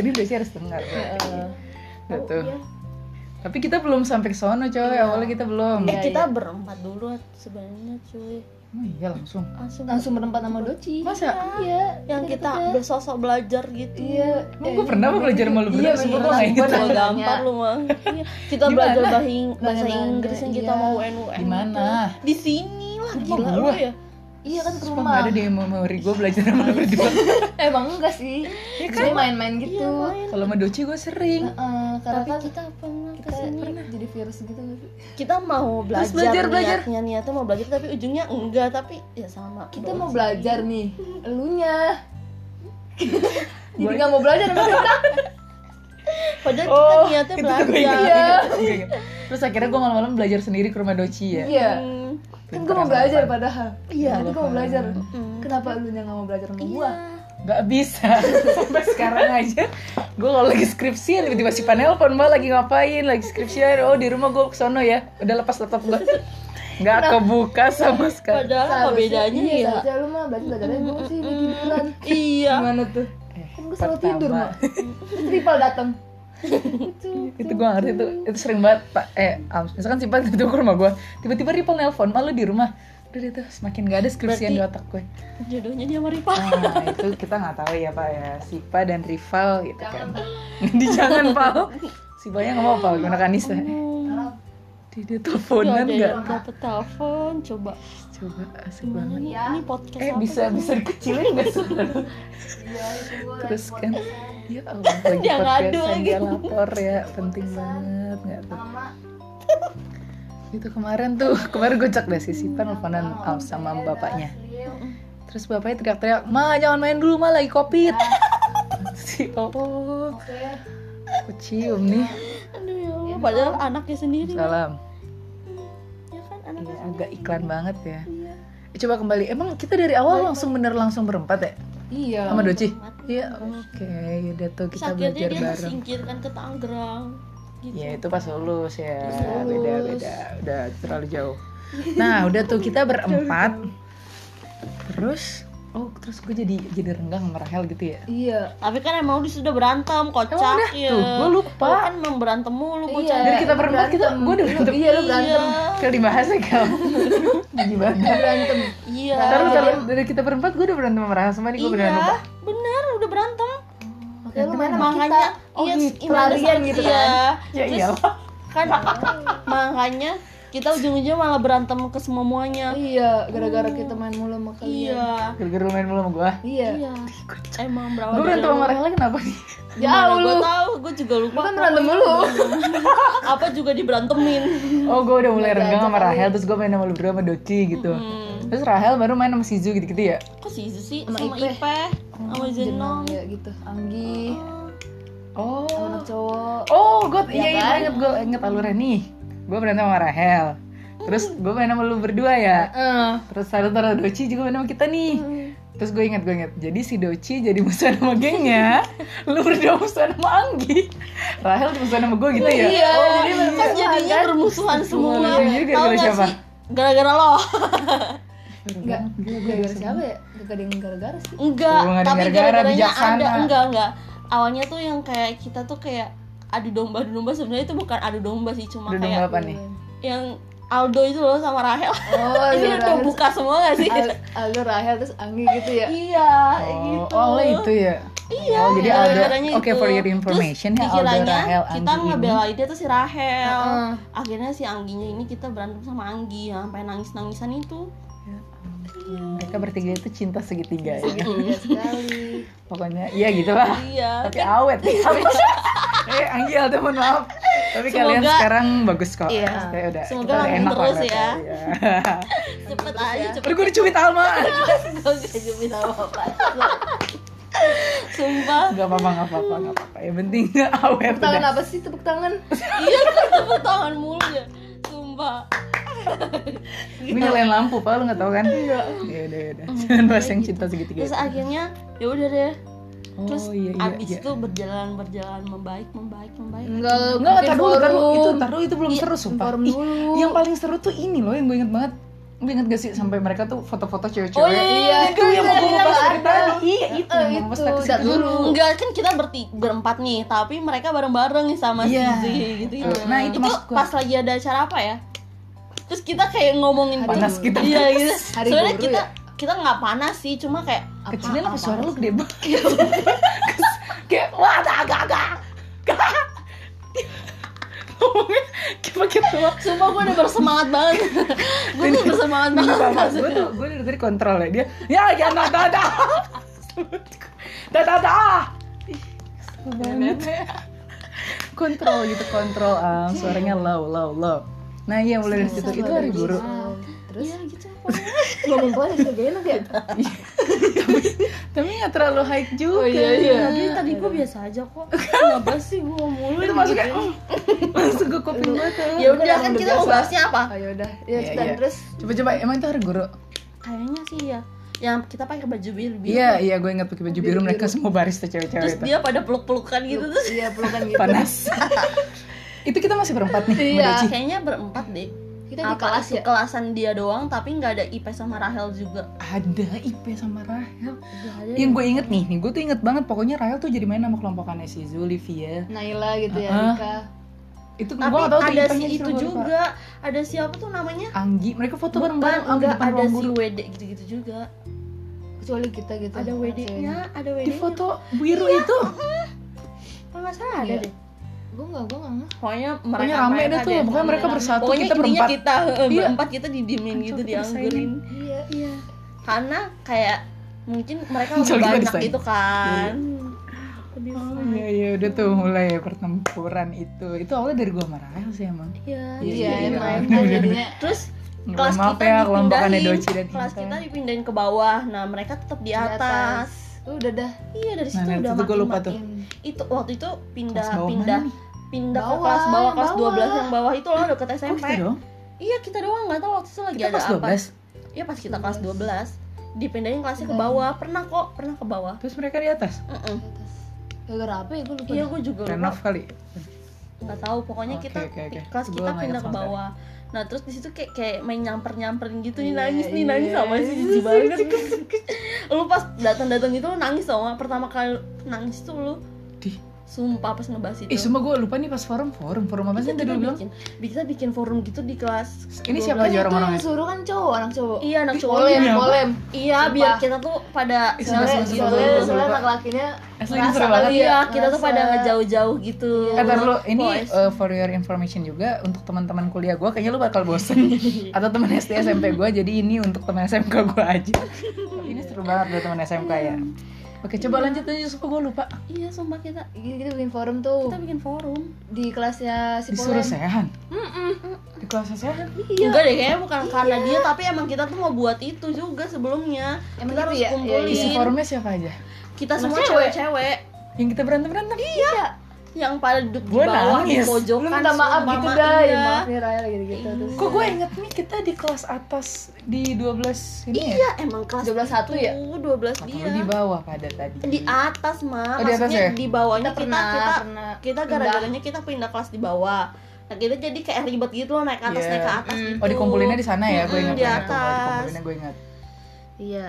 [SPEAKER 1] Jadi Doci harus dengar.
[SPEAKER 4] Eh,
[SPEAKER 1] Nah, tuh.
[SPEAKER 3] iya.
[SPEAKER 1] Tapi kita belum sampai ke sono, coy. Awalnya kita belum.
[SPEAKER 3] eh kita berempat dulu sebenarnya cuy
[SPEAKER 1] Oh, iya langsung.
[SPEAKER 3] langsung
[SPEAKER 4] langsung berempat sama Doci
[SPEAKER 1] Masa?
[SPEAKER 4] iya
[SPEAKER 3] yang kita bersosok belajar gitu
[SPEAKER 4] iya
[SPEAKER 1] Emang gue pernah apa belajar sama gitu. lu
[SPEAKER 4] Iya,
[SPEAKER 1] berdua? Sumpah
[SPEAKER 4] beneran.
[SPEAKER 1] gue gak inget.
[SPEAKER 4] Gua
[SPEAKER 3] Gua
[SPEAKER 4] nanya.
[SPEAKER 3] gampar lu mah Iya, kita belajar
[SPEAKER 1] Gimana?
[SPEAKER 3] bahasa, Ing- bahasa
[SPEAKER 4] Bahasa
[SPEAKER 3] Inggris yang kita
[SPEAKER 4] iya.
[SPEAKER 3] mau UN UN
[SPEAKER 1] Di mana?
[SPEAKER 3] di sini lah
[SPEAKER 1] Di
[SPEAKER 3] gila lu
[SPEAKER 1] rumah.
[SPEAKER 3] ya
[SPEAKER 4] iya kan ke
[SPEAKER 1] Sumpah
[SPEAKER 4] rumah
[SPEAKER 1] gak ada deh memori gue belajar sama lu berdua.
[SPEAKER 4] emang enggak sih
[SPEAKER 1] Iya
[SPEAKER 4] jadi
[SPEAKER 1] kan?
[SPEAKER 4] main-main gitu
[SPEAKER 1] Kalau sama Doci gue sering.
[SPEAKER 4] Heeh, karena
[SPEAKER 3] Iya, tapi
[SPEAKER 4] kan
[SPEAKER 3] kita pernah
[SPEAKER 4] kita
[SPEAKER 3] kesini
[SPEAKER 4] jadi virus gitu nggak sih?
[SPEAKER 3] kita mau belajar,
[SPEAKER 1] belajar, belajar.
[SPEAKER 3] niatnya niatnya mau belajar tapi ujungnya enggak tapi ya sama
[SPEAKER 4] kita
[SPEAKER 3] doang
[SPEAKER 4] mau
[SPEAKER 3] sih.
[SPEAKER 4] belajar nih elunya jadi
[SPEAKER 1] Boleh.
[SPEAKER 4] nggak mau belajar sama kita
[SPEAKER 3] padahal
[SPEAKER 1] Oh,
[SPEAKER 3] kita niatnya
[SPEAKER 1] itu gue inget,
[SPEAKER 3] belajar
[SPEAKER 1] gue inget, gue inget. Terus akhirnya gue malam-malam belajar sendiri ke rumah Doci ya.
[SPEAKER 4] iya
[SPEAKER 3] Hmm,
[SPEAKER 4] kan gue mau belajar padahal
[SPEAKER 3] Iya.
[SPEAKER 4] tapi gue mau belajar
[SPEAKER 1] Iya.
[SPEAKER 3] hmm.
[SPEAKER 4] kenapa elunya nggak mau belajar sama
[SPEAKER 3] iya
[SPEAKER 4] gua
[SPEAKER 1] Gak bisa. Sampai sekarang aja. Gue kalau lagi skripsian tiba-tiba si panelpon mbak lagi ngapain, lagi skripsian. Oh di rumah gue kesono ya. Udah lepas laptop gue. Gak kebuka sama sekali.
[SPEAKER 3] padahal apa
[SPEAKER 4] Seharusnya-
[SPEAKER 3] bedanya
[SPEAKER 4] iya,
[SPEAKER 3] ya Hmm,
[SPEAKER 4] seharusnya lu mah belajar belajarnya gue sih ini tiduran
[SPEAKER 3] iya
[SPEAKER 4] gimana tuh kan gue selalu tidur
[SPEAKER 1] Eh, Pertama.
[SPEAKER 4] mah terus Ripal dateng
[SPEAKER 1] itu gue ngerti itu itu sering banget pak eh am- misalkan si Pak itu ke rumah gue tiba-tiba Ripple nelpon malu di rumah udah deh tuh semakin gak ada skripsian di
[SPEAKER 3] Berarti-
[SPEAKER 1] otak gue
[SPEAKER 3] jodohnya dia Maripa
[SPEAKER 1] nah itu kita nggak tahu ya pak ya Sipa dan rival gitu kan di jangan pak Sipanya nggak mau pak gimana kan Nisa dia teleponan
[SPEAKER 3] Udah
[SPEAKER 1] nggak
[SPEAKER 3] Hmm. ada dapet telepon coba
[SPEAKER 1] coba asik
[SPEAKER 3] gimana
[SPEAKER 1] banget
[SPEAKER 3] nih ini podcast
[SPEAKER 1] eh
[SPEAKER 3] apa
[SPEAKER 1] bisa bisa dikecilin nggak sih terus kan ya Allah lagi
[SPEAKER 3] Dia ngadu
[SPEAKER 1] podcastan
[SPEAKER 3] lagi.
[SPEAKER 1] dia lapor ya penting banget nggak tuh itu kemarin tuh kemarin gocak deh si Sipa nelfonan am- oh, sama bapaknya terus bapaknya teriak-teriak ma jangan main dulu ma lagi covid si oh aku cium nih
[SPEAKER 3] aduh ya
[SPEAKER 1] Iya,
[SPEAKER 3] Allah padahal anaknya sendiri
[SPEAKER 1] salam
[SPEAKER 3] ya kan anak
[SPEAKER 1] Iya, agak iklan banget ya Eh, coba kembali emang kita dari awal langsung bener langsung berempat ya
[SPEAKER 4] iya
[SPEAKER 1] sama Doci Iya, oke. Udah tuh kita
[SPEAKER 3] sakitnya
[SPEAKER 1] belajar
[SPEAKER 3] dia
[SPEAKER 1] bareng.
[SPEAKER 3] disingkirkan ke Tangerang gitu
[SPEAKER 1] Ya itu pas lulus ya. Beda beda. Udah terlalu jauh. Nah, udah tuh kita berempat. Terus oh terus gue jadi jadi renggang sama Rahel gitu ya.
[SPEAKER 4] iya
[SPEAKER 3] tapi kan emang lu sudah berantem kocak
[SPEAKER 1] Emang udah
[SPEAKER 3] ya
[SPEAKER 1] tuh, gue
[SPEAKER 3] Lu
[SPEAKER 1] lupa.
[SPEAKER 3] kan emang berantem mulu bocah
[SPEAKER 1] Dari kita berempat kita gue udah berantem.
[SPEAKER 4] iya lu berantem
[SPEAKER 1] Kalau dibahas ya kau. Gimana?
[SPEAKER 4] berantem
[SPEAKER 3] iya
[SPEAKER 1] Terus kalau dari kita berempat gue udah berantem sama Rahel sama nih gue beneran
[SPEAKER 3] iya
[SPEAKER 1] lupa.
[SPEAKER 3] bener udah berantem
[SPEAKER 4] Oke, lu main sama kita.
[SPEAKER 3] makanya
[SPEAKER 4] Oh,
[SPEAKER 3] iya,
[SPEAKER 4] di
[SPEAKER 3] gimana
[SPEAKER 4] pelarian
[SPEAKER 3] sih?
[SPEAKER 4] gitu
[SPEAKER 3] Iya.
[SPEAKER 4] kan.
[SPEAKER 1] Ya
[SPEAKER 3] Terus
[SPEAKER 1] iyalah.
[SPEAKER 3] kan makanya kita ujung-ujungnya malah berantem ke semuanya
[SPEAKER 4] Iya, gara-gara kita main mulu sama kalian.
[SPEAKER 3] iya
[SPEAKER 1] Gara-gara lu main mulu sama gue.
[SPEAKER 4] Iya.
[SPEAKER 3] iya
[SPEAKER 1] Gue
[SPEAKER 3] emang berawal
[SPEAKER 1] berantem sama Rahel kenapa nih?
[SPEAKER 4] Jauh
[SPEAKER 3] gue
[SPEAKER 4] lu.
[SPEAKER 3] tahu gue juga lupa
[SPEAKER 4] Bukan kan berantem mulu.
[SPEAKER 3] apa juga diberantemin
[SPEAKER 1] Oh gue udah mulai renggang sama Rahel terus gue main sama lu berdua sama Doci gitu Terus Rahel baru main sama Sizu gitu-gitu ya
[SPEAKER 3] Hmm. kok sih Izu sih
[SPEAKER 4] Sama
[SPEAKER 3] sama,
[SPEAKER 4] Ipe.
[SPEAKER 3] Ipe sama Jenong
[SPEAKER 4] Jenong ya gitu. Anggi,
[SPEAKER 1] Oh
[SPEAKER 4] anak cowok.
[SPEAKER 1] Oh gue iya iya gue inget gue inget alurnya nih Gue berantem sama Rahel Terus gue main sama lu berdua ya
[SPEAKER 4] Eh,
[SPEAKER 1] Terus Rahel sama Doci juga main sama kita nih Terus gue inget, gue inget. Jadi si Doci jadi musuhan sama gengnya. Lu berdua musuhan sama Anggi. Rahel musuhan sama gue gitu ya.
[SPEAKER 3] Iya,
[SPEAKER 1] Oh,
[SPEAKER 3] kan jadinya bermusuhan
[SPEAKER 1] Iya,
[SPEAKER 3] semua.
[SPEAKER 1] gara-gara
[SPEAKER 3] Tahu nggak
[SPEAKER 1] siapa?
[SPEAKER 3] sih? Gara-gara lo.
[SPEAKER 4] Enggak,
[SPEAKER 1] Iya,
[SPEAKER 4] gara-gara siapa ya? Gak ada yang gara-gara sih
[SPEAKER 3] Enggak,
[SPEAKER 1] Lu nggak ada
[SPEAKER 3] tapi
[SPEAKER 1] gara-gara,
[SPEAKER 3] gara-garanya ada.
[SPEAKER 1] bijaksana.
[SPEAKER 3] Enggak, enggak. Awalnya tuh yang kayak kita tuh kayak adu domba adu domba sebenarnya itu bukan adu domba sih cuma
[SPEAKER 1] Udah
[SPEAKER 3] kayak
[SPEAKER 1] nunggu apa nih?
[SPEAKER 3] yang Aldo itu loh sama Rahel.
[SPEAKER 4] Oh,
[SPEAKER 3] itu
[SPEAKER 4] iya
[SPEAKER 3] udah
[SPEAKER 4] Rahel
[SPEAKER 3] buka semua gak sih?
[SPEAKER 4] Al- Aldo Rahel terus Anggi gitu ya
[SPEAKER 3] Iya,
[SPEAKER 1] Oh,
[SPEAKER 3] gitu.
[SPEAKER 1] oh lo itu ya?
[SPEAKER 3] Iya,
[SPEAKER 1] Oh, jadi Aldo-
[SPEAKER 3] gara-garanya
[SPEAKER 1] oke, for your information ya,
[SPEAKER 3] Terus
[SPEAKER 1] Aldo,
[SPEAKER 3] dikiranya
[SPEAKER 1] Rahel,
[SPEAKER 3] kita
[SPEAKER 1] Anggi ini.
[SPEAKER 3] ngebelain dia tuh si Rahel.
[SPEAKER 4] Heeh.
[SPEAKER 3] Akhirnya si Angginya ini kita berantem sama Anggi ya, sampai nangis-nangisan itu.
[SPEAKER 1] Mereka bertiga itu cinta segitiga ya.
[SPEAKER 4] Tiga sekali
[SPEAKER 1] Pokoknya, iya gitu lah.
[SPEAKER 3] Iya.
[SPEAKER 1] Tapi awet. eh, Anggi Aldo mohon maaf. Tapi kalian
[SPEAKER 3] Semoga-
[SPEAKER 1] sekarang bagus kok.
[SPEAKER 3] Iya.
[SPEAKER 1] Maksudnya udah, kita
[SPEAKER 3] Semoga
[SPEAKER 1] udah
[SPEAKER 3] langgeng
[SPEAKER 1] enak lah
[SPEAKER 3] terus ya.
[SPEAKER 1] ngeliatnya, Iya.
[SPEAKER 3] Cepet aja, cepet.
[SPEAKER 1] Terus gue dicubit Alma.
[SPEAKER 3] Gue gak jubit apa-apa. Sumpah.
[SPEAKER 1] Gak apa-apa, gak apa-apa, gak apa-apa. Yang penting awet.
[SPEAKER 4] Tepuk tangan
[SPEAKER 1] udah.
[SPEAKER 4] apa sih? Tepuk tangan
[SPEAKER 3] Iya, gue tepuk tangan mulu ya. Sumpah.
[SPEAKER 1] Ini nyalain lampu, Pak. Lu gak tau kan? Iya. Iya, udah, udah. Jangan bahas yang cinta segitiga.
[SPEAKER 3] Oh, iya. Terus akhirnya ya udah deh.
[SPEAKER 1] Oh,
[SPEAKER 3] Terus
[SPEAKER 1] iya, iya,
[SPEAKER 3] abis
[SPEAKER 1] iya. Hmm.
[SPEAKER 3] itu berjalan berjalan membaik membaik membaik.
[SPEAKER 4] Enggak,
[SPEAKER 1] Enggak,
[SPEAKER 4] bikin
[SPEAKER 1] tar dulu, tar dulu.
[SPEAKER 4] forum.
[SPEAKER 1] Itu, tar dulu, itu
[SPEAKER 3] Iya,
[SPEAKER 1] belum seru, sumpah.
[SPEAKER 4] forum
[SPEAKER 1] Ih,
[SPEAKER 4] dulu.
[SPEAKER 1] yang paling seru tuh ini loh, yang gue inget banget. Lu inget gak sih sampai mereka tuh foto-foto cewek-cewek?
[SPEAKER 3] Oh, iya, iya,
[SPEAKER 1] itu yang mau gue
[SPEAKER 4] iya,
[SPEAKER 1] bahas dari
[SPEAKER 4] ada.
[SPEAKER 1] tadi. Iya, itu
[SPEAKER 4] Eh,
[SPEAKER 1] yang mau gue bahas dari
[SPEAKER 4] itu, tar
[SPEAKER 1] situ.
[SPEAKER 4] dulu
[SPEAKER 3] Enggak kan kita berti berempat nih, tapi mereka bareng-bareng nih sama
[SPEAKER 1] Iya.
[SPEAKER 3] si Zee gitu.
[SPEAKER 1] Betul. Nah, itu maksud gua.
[SPEAKER 3] pas lagi ada acara apa ya? Terus kita kayak ngomongin
[SPEAKER 1] Panas
[SPEAKER 3] tuh-
[SPEAKER 1] kita.
[SPEAKER 3] Iya, gitu.
[SPEAKER 4] Hari
[SPEAKER 3] Soalnya
[SPEAKER 4] guru
[SPEAKER 3] kita
[SPEAKER 4] ya?
[SPEAKER 3] kita nggak panas sih, cuma kayak
[SPEAKER 1] Kecilin apa suara lu gede banget. Kayak, wah, agak-agak. Ngomongnya kayak pakai tua.
[SPEAKER 3] Sumpah gue udah bersemangat banget Gue tuh bersemangat banget
[SPEAKER 1] gue Nah, tuh gue dari tadi kontrol ya dia ya ya da da da da da da Nah, Ih, kesel banget. kontrol gitu kontrol ah suaranya low low low nah iya mulai dari situ itu hari guru
[SPEAKER 4] Terus? Iya gitu Ngomong boleh kerja enak ya?
[SPEAKER 1] tapi nggak terlalu high
[SPEAKER 4] Oh, iya,
[SPEAKER 1] juga
[SPEAKER 3] Tapi tadi gue biasa aja kok Kenapa sih gue mulu gitu.
[SPEAKER 1] itu masuknya mm, langsung ke kuping gue tuh
[SPEAKER 3] Iya. Ya udah kan kita mau bahasnya apa?
[SPEAKER 4] Oh yaudah Ya
[SPEAKER 1] Iya,
[SPEAKER 4] dan
[SPEAKER 1] iya.
[SPEAKER 4] terus
[SPEAKER 1] coba coba emang itu hari guru
[SPEAKER 3] Kayaknya sih ya Yang kita pakai baju biru
[SPEAKER 1] iya iya gue ingat pakai baju biru mereka semua barista
[SPEAKER 3] Terus
[SPEAKER 1] cewek-cewek itu
[SPEAKER 3] dia pada peluk-pelukan gitu Terus
[SPEAKER 4] Iya pelukan gitu
[SPEAKER 1] panas itu kita masih berempat nih
[SPEAKER 4] Iya.
[SPEAKER 1] Mbak Doci.
[SPEAKER 3] kayaknya berempat deh
[SPEAKER 4] Kita di kelas ya?
[SPEAKER 3] Kelasan dia doang tapi nggak ada IP sama Rahel juga
[SPEAKER 1] ada IP sama Rahel
[SPEAKER 3] Nggak ada.
[SPEAKER 1] yang gue inget nih, nih gue tuh inget banget pokoknya Rahel tuh jadi main sama kelompokannya si Zulivia
[SPEAKER 4] Naila gitu ya
[SPEAKER 1] Heeh.
[SPEAKER 4] Rika
[SPEAKER 1] itu gue
[SPEAKER 3] Tapi
[SPEAKER 1] gak tau tuh
[SPEAKER 3] ada
[SPEAKER 1] IP-nya
[SPEAKER 3] si itu
[SPEAKER 1] disuruh lupa.
[SPEAKER 3] juga Ada siapa tuh namanya?
[SPEAKER 1] Anggi mereka foto bareng
[SPEAKER 3] Bukan,
[SPEAKER 1] bareng
[SPEAKER 3] enggak ada si WD gitu-gitu juga
[SPEAKER 4] Kecuali kita gitu
[SPEAKER 3] ada WD-nya, ada WD.
[SPEAKER 1] di foto biru
[SPEAKER 3] Iya.
[SPEAKER 1] itu
[SPEAKER 3] Kalau nggak salah ada
[SPEAKER 4] Iya.
[SPEAKER 3] deh.
[SPEAKER 4] Gue gak, gue gak
[SPEAKER 3] Pokoknya
[SPEAKER 1] pokoknya rame deh tuh pokoknya mereka bersatu
[SPEAKER 3] Pokoknya
[SPEAKER 1] kita
[SPEAKER 3] intinya
[SPEAKER 1] berempat
[SPEAKER 3] kita eh,
[SPEAKER 1] Iya.
[SPEAKER 3] berempat kita didiemin
[SPEAKER 1] Kacau,
[SPEAKER 3] gitu
[SPEAKER 1] kita
[SPEAKER 3] dianggurin.
[SPEAKER 4] Iya iya
[SPEAKER 3] Karena kayak mungkin mereka
[SPEAKER 1] Kacau,
[SPEAKER 3] lebih
[SPEAKER 1] kita
[SPEAKER 3] banyak
[SPEAKER 1] disayang.
[SPEAKER 3] gitu kan. Lebih
[SPEAKER 1] Oh
[SPEAKER 3] banyak.
[SPEAKER 1] iya iya udah tuh mulai pertempuran itu itu awalnya dari gue sama Rahel sih emang
[SPEAKER 3] Iya.
[SPEAKER 4] Iya
[SPEAKER 1] iya,
[SPEAKER 4] emang
[SPEAKER 1] iya.
[SPEAKER 4] kan jadinya
[SPEAKER 3] Terus
[SPEAKER 1] Mohon
[SPEAKER 3] kelas
[SPEAKER 1] maaf
[SPEAKER 3] kita
[SPEAKER 1] ya kelompokannya
[SPEAKER 3] dipindahin,
[SPEAKER 1] Doci dan
[SPEAKER 3] kelas kita
[SPEAKER 1] Intan.
[SPEAKER 3] dipindahin ke bawah. Nah mereka tetap di atas.
[SPEAKER 4] Udah dah
[SPEAKER 3] Iya dari
[SPEAKER 1] nah
[SPEAKER 3] situ
[SPEAKER 1] dari
[SPEAKER 3] udah
[SPEAKER 1] situ gue lupa tuh
[SPEAKER 3] mati-mati. Itu waktu itu pindah
[SPEAKER 1] kelas bawah
[SPEAKER 3] pindah
[SPEAKER 1] mana nih?
[SPEAKER 3] pindah ke
[SPEAKER 4] Bawah,
[SPEAKER 3] kelas bawah
[SPEAKER 4] yang
[SPEAKER 3] kelas
[SPEAKER 4] bawah.
[SPEAKER 3] 12 yang bawah itu loh deket
[SPEAKER 1] Oh,
[SPEAKER 3] SMP.
[SPEAKER 1] kita dong
[SPEAKER 3] Iya kita doang nggak tahu waktu itu lagi
[SPEAKER 1] kita
[SPEAKER 3] ada
[SPEAKER 1] kelas
[SPEAKER 3] apa.
[SPEAKER 1] 12
[SPEAKER 3] Iya pas kita kelas 12 dipindahin kelasnya ke bawah. Pernah kok, pernah ke bawah.
[SPEAKER 1] terus mereka di atas
[SPEAKER 3] Mm-mm.
[SPEAKER 4] Gara-gara apa ya gue lupa
[SPEAKER 3] Iya
[SPEAKER 4] dah.
[SPEAKER 3] gue juga lupa.
[SPEAKER 1] renov kali
[SPEAKER 3] Nggak tahu pokoknya
[SPEAKER 1] Oke,
[SPEAKER 3] kita
[SPEAKER 1] oke, oke.
[SPEAKER 3] kelas
[SPEAKER 1] Gua
[SPEAKER 3] kita
[SPEAKER 1] nggak
[SPEAKER 3] pindah ke
[SPEAKER 1] ingat sama
[SPEAKER 3] bawah. Nah terus di situ kayak kayak main nyamper nyamperin gitu nih
[SPEAKER 4] Iya,
[SPEAKER 3] nangis nih
[SPEAKER 4] iya.
[SPEAKER 3] nangis sama si jijik banget. lu pas datang datang itu lu nangis sama pertama kali nangis tuh lu
[SPEAKER 1] Dih.
[SPEAKER 3] sumpah pas ngebahas itu.
[SPEAKER 1] eh semua gue lupa nih pas forum forum forum apa sih yang
[SPEAKER 3] kita,
[SPEAKER 1] tadi lu bilang
[SPEAKER 3] bikin, kita bikin forum gitu di kelas
[SPEAKER 1] ini
[SPEAKER 3] 12.
[SPEAKER 1] siapa aja
[SPEAKER 4] Kan itu yang
[SPEAKER 1] orang-orangnya
[SPEAKER 4] suruh kan cowok, anak cowok
[SPEAKER 3] Iya anak cowok
[SPEAKER 4] Polem,
[SPEAKER 1] ini apa?
[SPEAKER 4] polem
[SPEAKER 3] Iya
[SPEAKER 4] Sumpah.
[SPEAKER 3] biar kita tuh pada
[SPEAKER 1] Ih,
[SPEAKER 4] Soalnya,
[SPEAKER 1] Sumpah, sumpah,
[SPEAKER 4] soalnya,
[SPEAKER 1] sumpah,
[SPEAKER 4] soalnya
[SPEAKER 1] sumpah.
[SPEAKER 4] anak lakinya
[SPEAKER 1] Asli ini seru banget
[SPEAKER 3] Iya, kita tuh
[SPEAKER 4] Ngerasa.
[SPEAKER 3] pada ngejauh-jauh gitu.
[SPEAKER 1] Eh, tar lu, ini
[SPEAKER 3] Boys.
[SPEAKER 1] uh, for your information juga untuk teman-teman kuliah gue kayaknya lu bakal bosen atau teman SD SMP gue jadi ini untuk teman SMK gue aja ini seru banget buat teman SMK ya oke coba lanjut aja suka gue lupa
[SPEAKER 3] Iya, sumpah kita
[SPEAKER 4] Gitu, gitu bikin forum tuh
[SPEAKER 3] kita bikin forum.
[SPEAKER 4] Di kelasnya si
[SPEAKER 1] disuruh
[SPEAKER 4] polem
[SPEAKER 1] sehan di kelas sehan
[SPEAKER 3] Enggak deh kayaknya bukan karena dia tapi emang kita tuh mau buat itu juga sebelumnya.
[SPEAKER 4] Emang
[SPEAKER 3] kita
[SPEAKER 4] gitu
[SPEAKER 3] harus
[SPEAKER 4] ya?
[SPEAKER 1] Iya.
[SPEAKER 3] kumpulin.
[SPEAKER 1] isi forumnya siapa aja
[SPEAKER 3] Kita semua
[SPEAKER 4] cewek.
[SPEAKER 3] cewek-cewek.
[SPEAKER 1] yang kita berantem berantem
[SPEAKER 4] Iya
[SPEAKER 3] yang pada duduk di
[SPEAKER 1] Gua
[SPEAKER 3] bawah
[SPEAKER 1] nangis.
[SPEAKER 3] di pojokan
[SPEAKER 4] Lu minta maaf
[SPEAKER 3] semua
[SPEAKER 4] gitu
[SPEAKER 3] mama,
[SPEAKER 4] dah
[SPEAKER 3] iya.
[SPEAKER 4] maaf nih Raya gitu-gitu terus
[SPEAKER 1] Kok gue inget nih kita di kelas atas di 12 ini ya?
[SPEAKER 3] iya emang kelas
[SPEAKER 4] 12-1 ya?
[SPEAKER 3] 12
[SPEAKER 1] Atau
[SPEAKER 3] dia
[SPEAKER 1] lu di bawah pada tadi.
[SPEAKER 3] Iya. di atas mah
[SPEAKER 1] Oh, di atas
[SPEAKER 3] maksudnya
[SPEAKER 1] ya?
[SPEAKER 3] di bawahnya kita
[SPEAKER 4] kita pernah
[SPEAKER 3] kita
[SPEAKER 4] pernah
[SPEAKER 3] kita gara-garanya kita pindah kelas di bawah nah kita jadi kayak ribet gitu loh naik atas
[SPEAKER 1] Iya.
[SPEAKER 3] naik ke atas
[SPEAKER 4] Mm.
[SPEAKER 3] gitu
[SPEAKER 1] Oh dikumpulinnya di sana ya, gue ingat
[SPEAKER 3] Mm-mm, di
[SPEAKER 1] banget.
[SPEAKER 3] atas.
[SPEAKER 1] Oh, dikumpulinnya gue ingat.
[SPEAKER 4] iya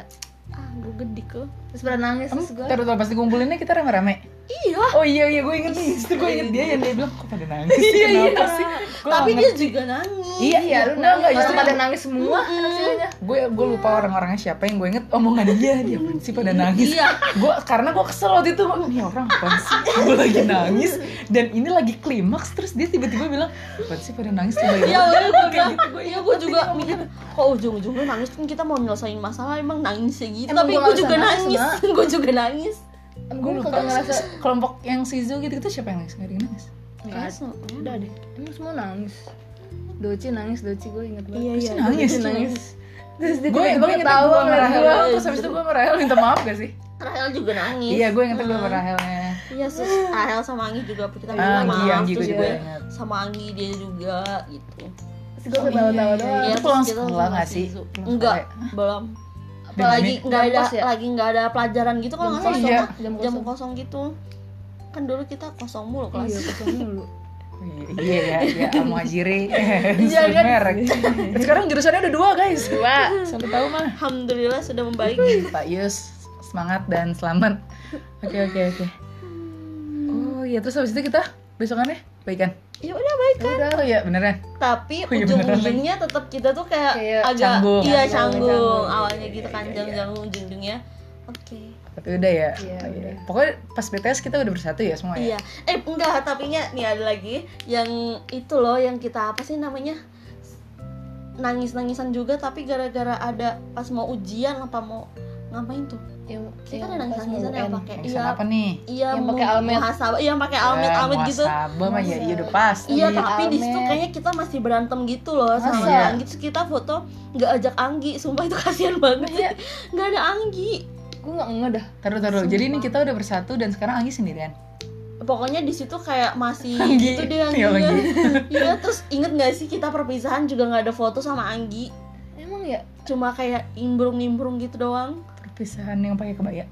[SPEAKER 3] ah gue gede kok
[SPEAKER 4] terus pernah nangis terus gue
[SPEAKER 1] Terus pas dikumpulinnya kita rame-rame.
[SPEAKER 3] iya
[SPEAKER 1] Oh iya iya gue inget nih, itu gue inget dia yang dia bilang kok pada nangis sih, kenapa sih? Gue
[SPEAKER 3] Iya, tapi
[SPEAKER 1] nggak
[SPEAKER 3] dia juga nangis
[SPEAKER 1] Iya, iya, lu enggak,
[SPEAKER 4] orang
[SPEAKER 1] justru
[SPEAKER 4] pada nangis semua hasilnya
[SPEAKER 1] gue gue lupa orang-orangnya siapa yang gue inget omongan dia dia apaan sih pada nangis
[SPEAKER 3] Iya.
[SPEAKER 1] gue karena gue kesel waktu itu ini orang apa sih gue lagi nangis dan ini lagi klimaks terus dia tiba-tiba bilang apa sih pada nangis tiba
[SPEAKER 3] Iya,
[SPEAKER 1] tiba
[SPEAKER 3] udah gue bilang,
[SPEAKER 1] gitu.
[SPEAKER 3] iya gue juga mikir, kok ujung-ujungnya nangis kan kita mau nyelesain masalah emang nangis gitu,
[SPEAKER 4] Emang
[SPEAKER 3] tapi
[SPEAKER 4] gua
[SPEAKER 3] gue
[SPEAKER 4] nggak
[SPEAKER 3] juga
[SPEAKER 4] bisa
[SPEAKER 3] nangis,
[SPEAKER 4] nangis,
[SPEAKER 3] gue juga nangis.
[SPEAKER 1] gue
[SPEAKER 4] gue
[SPEAKER 1] lupa
[SPEAKER 4] kagak ngerasa
[SPEAKER 1] kelompok yang Sizu gitu gitu siapa yang nangis nggak ada yang nangis
[SPEAKER 4] Nggak
[SPEAKER 3] Nangis, udah
[SPEAKER 4] udah deh emang semua nangis Doci nangis, Doci gue inget banget
[SPEAKER 3] Iya,
[SPEAKER 1] Terus
[SPEAKER 3] iya.
[SPEAKER 1] dia nangis
[SPEAKER 4] Doci nangis Terus dia
[SPEAKER 1] gue
[SPEAKER 4] tiba-tiba
[SPEAKER 1] gue inget
[SPEAKER 4] ketawa
[SPEAKER 1] gue
[SPEAKER 4] ngeliat
[SPEAKER 1] merahel
[SPEAKER 4] gue
[SPEAKER 1] terus habis itu gue merahel minta maaf gak sih
[SPEAKER 3] Rahel juga nangis.
[SPEAKER 1] iya gue inget gue
[SPEAKER 3] Hmm.
[SPEAKER 1] merahelnya
[SPEAKER 3] Iya, terus Rahel sama Anggi juga kita
[SPEAKER 1] ah
[SPEAKER 3] minta
[SPEAKER 1] Anggi
[SPEAKER 3] maaf,
[SPEAKER 1] Anggi gue
[SPEAKER 3] terus
[SPEAKER 1] juga
[SPEAKER 3] gue
[SPEAKER 1] inget
[SPEAKER 3] sama Anggi dia juga gitu.
[SPEAKER 4] Terus gue ketawa-tawa
[SPEAKER 1] Iya,
[SPEAKER 4] doang
[SPEAKER 1] iya,
[SPEAKER 3] Iya,
[SPEAKER 1] Itu pulang
[SPEAKER 3] terus kita
[SPEAKER 1] sekolah
[SPEAKER 3] sama
[SPEAKER 1] nggak sih?
[SPEAKER 3] Shizu.
[SPEAKER 1] Pulang
[SPEAKER 3] Enggak,
[SPEAKER 1] sekolah
[SPEAKER 3] belum.
[SPEAKER 4] Apalagi
[SPEAKER 3] Lagi nggak ada
[SPEAKER 4] Jam kos ya?
[SPEAKER 3] lagi nggak ada pelajaran gitu kalau
[SPEAKER 4] Jam
[SPEAKER 3] nggak salah
[SPEAKER 1] kos ya?
[SPEAKER 3] cuma
[SPEAKER 4] Jam
[SPEAKER 3] jam
[SPEAKER 4] kosong.
[SPEAKER 3] kosong gitu. Kan dulu kita kosong mulu
[SPEAKER 4] Iya,
[SPEAKER 3] kelas.
[SPEAKER 4] kosong dulu
[SPEAKER 3] Oh
[SPEAKER 1] iya ya ya Al Muhajiri
[SPEAKER 4] Iya,
[SPEAKER 1] sebut
[SPEAKER 4] kan?
[SPEAKER 1] merek sekarang jurusannya ada dua guys
[SPEAKER 4] Dua
[SPEAKER 1] sampai tahu mah
[SPEAKER 3] Alhamdulillah sudah membaik.
[SPEAKER 1] Pak Yus semangat dan selamat. Oke oke oke. Oh iya terus habis itu kita besokannya baikan.
[SPEAKER 3] Ya udah baik.
[SPEAKER 1] Udah oh iya beneran.
[SPEAKER 3] tapi
[SPEAKER 1] Oh, iya
[SPEAKER 3] ujung-ujungnya tetap kita tuh kayak,
[SPEAKER 4] Kayak
[SPEAKER 3] agak
[SPEAKER 1] canggung.
[SPEAKER 3] iya
[SPEAKER 4] Canggung,
[SPEAKER 3] canggung,
[SPEAKER 4] canggung.
[SPEAKER 3] awalnya
[SPEAKER 1] Iya,
[SPEAKER 3] gitu kan
[SPEAKER 1] iya, iya.
[SPEAKER 3] janggung ujung-ujungnya oke
[SPEAKER 1] Tapi udah ya.
[SPEAKER 4] Iya,
[SPEAKER 1] Oh,
[SPEAKER 4] udah.
[SPEAKER 1] Pokoknya pas BTS kita udah bersatu ya semua ya.
[SPEAKER 3] iya eh enggak tapi nya nih ada lagi yang itu loh yang kita apa sih namanya nangis-nangisan juga tapi gara-gara ada pas mau ujian apa mau ngapain tuh
[SPEAKER 4] Yang-
[SPEAKER 3] kita ada
[SPEAKER 4] yang Iya, pas mau
[SPEAKER 3] nangis-nangisan yang
[SPEAKER 4] UN.
[SPEAKER 3] pakai
[SPEAKER 1] Yang
[SPEAKER 3] iya
[SPEAKER 1] apa nih?
[SPEAKER 3] iya
[SPEAKER 4] Yang
[SPEAKER 3] mu-
[SPEAKER 4] pakai almet.
[SPEAKER 3] muhasabah iya yang pakai almet
[SPEAKER 1] Eh,
[SPEAKER 3] almet gitu
[SPEAKER 1] Muhasabah mah ya
[SPEAKER 4] Masa.
[SPEAKER 1] iya udah pasti.
[SPEAKER 3] Iya
[SPEAKER 4] Iya,
[SPEAKER 3] tapi di situ
[SPEAKER 4] Almet.
[SPEAKER 3] kayaknya kita masih berantem gitu loh sama
[SPEAKER 4] Masa?
[SPEAKER 3] Anggi. Terus kita foto nggak ajak Anggi, sumpah itu kasihan banget.
[SPEAKER 4] Iya.
[SPEAKER 3] Nggak ada Anggi.
[SPEAKER 4] Gue gak ngeh dah
[SPEAKER 1] Taruh taruh. Jadi ini kita udah bersatu dan sekarang Anggi sendirian.
[SPEAKER 3] Pokoknya di situ kayak masih
[SPEAKER 1] Anggi.
[SPEAKER 3] gitu deh
[SPEAKER 1] Iya,
[SPEAKER 3] Angginya. Iya terus inget nggak sih kita perpisahan juga nggak ada foto sama Anggi.
[SPEAKER 4] Emang ya?
[SPEAKER 3] Cuma kayak nimbrung-nimbrung gitu doang.
[SPEAKER 1] Perpisahan yang pakai kebaya.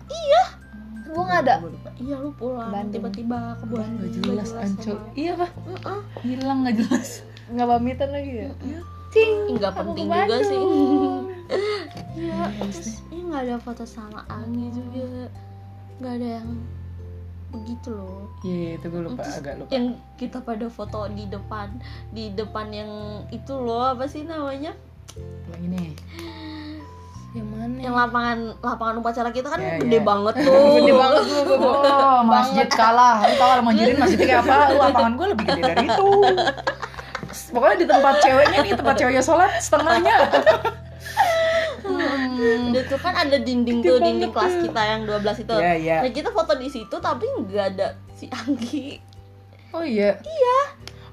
[SPEAKER 4] Gue gak ada
[SPEAKER 3] Iya lu pulang
[SPEAKER 4] Bandung.
[SPEAKER 3] tiba-tiba ke Bandung.
[SPEAKER 1] Gak jelas
[SPEAKER 3] nggak
[SPEAKER 1] anco.
[SPEAKER 3] sama-
[SPEAKER 1] Iya pak.
[SPEAKER 3] Mm-mm.
[SPEAKER 1] Hilang gak jelas. Iya,
[SPEAKER 4] Gak pamitan lagi ya?
[SPEAKER 3] Ih, nggak
[SPEAKER 4] Aku ke
[SPEAKER 3] penting juga
[SPEAKER 4] Bandung.
[SPEAKER 3] sih. Iya terus ini nggak ada foto sama Anggi juga. Nggak ada yang begitu loh.
[SPEAKER 1] Iya itu gue lupa
[SPEAKER 3] Terus
[SPEAKER 1] agak lupa.
[SPEAKER 3] yang kita pada foto di depan di depan yang itu loh apa sih namanya
[SPEAKER 1] Lagi nih.
[SPEAKER 4] Yang mana?
[SPEAKER 3] yang lapangan lapangan upacara kita kan
[SPEAKER 1] Ya,
[SPEAKER 3] gede
[SPEAKER 1] ya.
[SPEAKER 3] banget tuh
[SPEAKER 4] Gede banget gue gue
[SPEAKER 1] Oh, masjid kalah. Lu tau kalau masjidin masjidnya kayak apa? Lu lapangan gue lebih gede dari itu. Pokoknya di tempat ceweknya nih, tempat ceweknya sholat setengahnya.
[SPEAKER 3] Udah tuh kan ada dinding tuh
[SPEAKER 1] Gede
[SPEAKER 3] dinding
[SPEAKER 1] banget
[SPEAKER 3] kelas
[SPEAKER 1] tuh.
[SPEAKER 3] kita yang 12 itu
[SPEAKER 1] Iya, iya.
[SPEAKER 3] nah kita foto di situ tapi nggak ada si Anggi
[SPEAKER 1] Oh iya. Iya.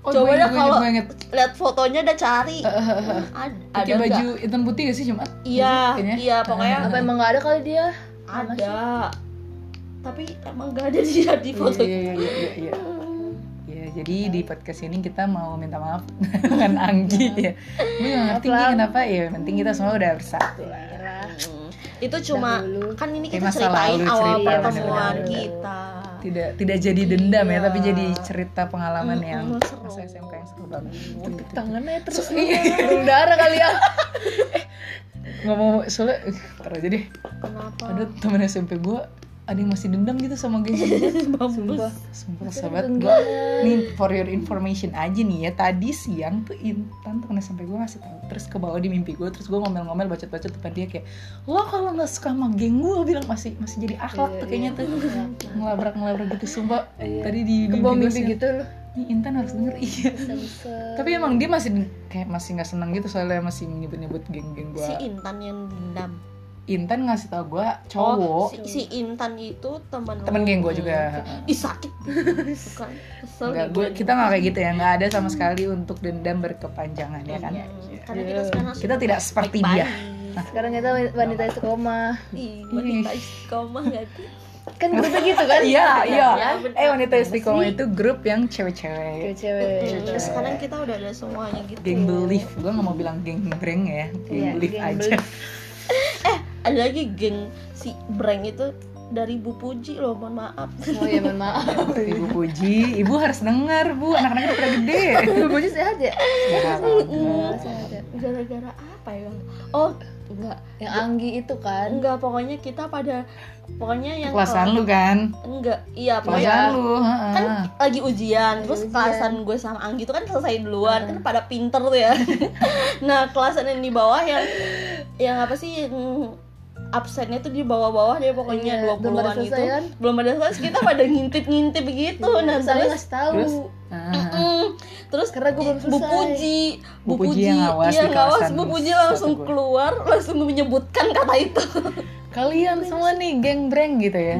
[SPEAKER 1] Oh, gue
[SPEAKER 3] Coba dah
[SPEAKER 1] inget, gue
[SPEAKER 3] kalau-
[SPEAKER 1] inget, gue inget.
[SPEAKER 3] lihat fotonya udah
[SPEAKER 1] Eh,
[SPEAKER 3] cari ada, ada
[SPEAKER 1] Pakai baju gitu ya.
[SPEAKER 3] nggak?
[SPEAKER 1] hitam putih gak sih Jumat?
[SPEAKER 3] iya
[SPEAKER 1] Kayaknya.
[SPEAKER 3] iya pokoknya
[SPEAKER 1] Nah,
[SPEAKER 4] Apa emang gak ada kali dia?
[SPEAKER 3] ada tapi emang nggak ada dia di foto Hmm.
[SPEAKER 1] Iya, iya, iya, iya, iya. Ya, jadi di podcast ini kita mau minta maaf dengan Anggi ya. Gue gak ngerti Gi, kenapa ya, yang penting kita semua udah bersatu lah.
[SPEAKER 3] Mm. itu cuma
[SPEAKER 4] Dahulu.
[SPEAKER 3] kan ini
[SPEAKER 1] Kayak
[SPEAKER 3] kita
[SPEAKER 1] Eh, masa lalu,
[SPEAKER 3] ceritain awal
[SPEAKER 1] cerita,
[SPEAKER 3] pertemuan
[SPEAKER 1] bener-bener.
[SPEAKER 3] kita
[SPEAKER 1] Tidak tidak jadi dendam ya,
[SPEAKER 3] Iya.
[SPEAKER 1] tapi jadi cerita pengalaman yang
[SPEAKER 3] Mm-mm, seru.
[SPEAKER 1] masa SMK yang seru banget.
[SPEAKER 4] Tepuk tangannya terus
[SPEAKER 1] So- iya.
[SPEAKER 4] Burung darah kali ya
[SPEAKER 1] ngomong soalnya eh, ntar aja deh
[SPEAKER 3] kenapa
[SPEAKER 1] ada temen SMP gue ada yang masih dendam gitu sama geng gue
[SPEAKER 3] Sumpah.
[SPEAKER 1] sumpah sahabat gue
[SPEAKER 4] gitu.
[SPEAKER 1] nih for your information aja nih ya tadi siang tuh Intan temen SMP gue ngasih tahu terus ke bawah di mimpi gue terus gue ngomel-ngomel bacot-bacot depan dia kayak lo kalau nggak suka sama geng gue bilang masih masih jadi akhlak
[SPEAKER 4] Iya,
[SPEAKER 1] tuh kayaknya tuh ngelabrak ngelabrak gitu sumpah
[SPEAKER 4] Iya.
[SPEAKER 1] tadi di mimpi
[SPEAKER 4] Kebom
[SPEAKER 1] gue
[SPEAKER 4] mimpi
[SPEAKER 1] sih
[SPEAKER 4] gitu loh
[SPEAKER 1] nih Intan harus denger iya tapi emang dia masih kayak masih nggak seneng gitu soalnya masih nyebut-nyebut geng-geng
[SPEAKER 3] si
[SPEAKER 1] gue
[SPEAKER 3] Intan yang dendam
[SPEAKER 1] Intan ngasih tau gue
[SPEAKER 3] oh
[SPEAKER 1] cowok
[SPEAKER 3] si, si Intan itu temen
[SPEAKER 1] temen
[SPEAKER 3] lu.
[SPEAKER 1] geng gue juga
[SPEAKER 3] ih sakit bukan kesel
[SPEAKER 1] Enggak,
[SPEAKER 3] nih
[SPEAKER 1] gue,
[SPEAKER 3] gua.
[SPEAKER 1] kita nggak kayak gitu ya nggak ada sama sekali untuk dendam berkepanjangan ya kan
[SPEAKER 3] Hmm, karena
[SPEAKER 4] Iya.
[SPEAKER 3] kita sekarang
[SPEAKER 1] kita tidak seperti dia
[SPEAKER 3] baik-baik.
[SPEAKER 4] Sekarang kita wanita istiqomah
[SPEAKER 3] Ih, wanita istiqomah gak sih?
[SPEAKER 4] kan grupnya gitu kan
[SPEAKER 1] Iya, iya.
[SPEAKER 2] Ya,
[SPEAKER 1] Eh wanita istiqomah itu grup yang cewek-cewek.
[SPEAKER 4] cewek
[SPEAKER 3] Terus sekarang kita udah ada semuanya gitu
[SPEAKER 1] Geng belief, gue nggak mau bilang geng breng ya,
[SPEAKER 4] Iya,
[SPEAKER 1] geng belief
[SPEAKER 4] geng
[SPEAKER 1] aja.
[SPEAKER 4] belief.
[SPEAKER 3] ada lagi geng si Breng itu dari Bu Puji loh mohon maaf
[SPEAKER 4] oh ya mohon maaf
[SPEAKER 1] Ibu puji, ibu harus dengar bu, anak-anak udah pada gede.
[SPEAKER 4] bumbunya sehat ya
[SPEAKER 1] Sehat banget.
[SPEAKER 4] sehat ya
[SPEAKER 3] gara-gara apa ya oh enggak
[SPEAKER 4] yang Anggi itu kan
[SPEAKER 3] enggak pokoknya kita pada pokoknya yang
[SPEAKER 1] Kelasan lu kan,
[SPEAKER 3] enggak iya pokoknya
[SPEAKER 1] kelasan lu. ha-ha.
[SPEAKER 3] kan lagi ujian terus
[SPEAKER 4] Ah. ujian. Ah.
[SPEAKER 3] kelasan gue sama Anggi itu kan selesai duluan kan pada pinter tuh ya nah kelasan yang di bawah yang yang apa sih yang absennya tuh di bawah-bawah deh pokoknya
[SPEAKER 4] Iya,
[SPEAKER 3] dua
[SPEAKER 4] belum ada
[SPEAKER 3] puluhan gitu
[SPEAKER 4] selesai kan?
[SPEAKER 3] belum ada selesai terus kita pada ngintip-ngintip gitu nah
[SPEAKER 4] Terus Anggi
[SPEAKER 3] terus
[SPEAKER 4] ngasih tahu
[SPEAKER 1] Terus? Ah.
[SPEAKER 3] mm, terus
[SPEAKER 4] karena gue belum selesai
[SPEAKER 3] Bu Puji,
[SPEAKER 1] Bu Puji yang ngawas
[SPEAKER 3] iya,
[SPEAKER 1] di
[SPEAKER 3] ngawas,
[SPEAKER 1] kawasan
[SPEAKER 3] Bu Puji
[SPEAKER 1] wisata
[SPEAKER 3] langsung
[SPEAKER 1] gue.
[SPEAKER 3] keluar, langsung menyebutkan kata itu.
[SPEAKER 1] Kalian semua nih geng breng gitu ya,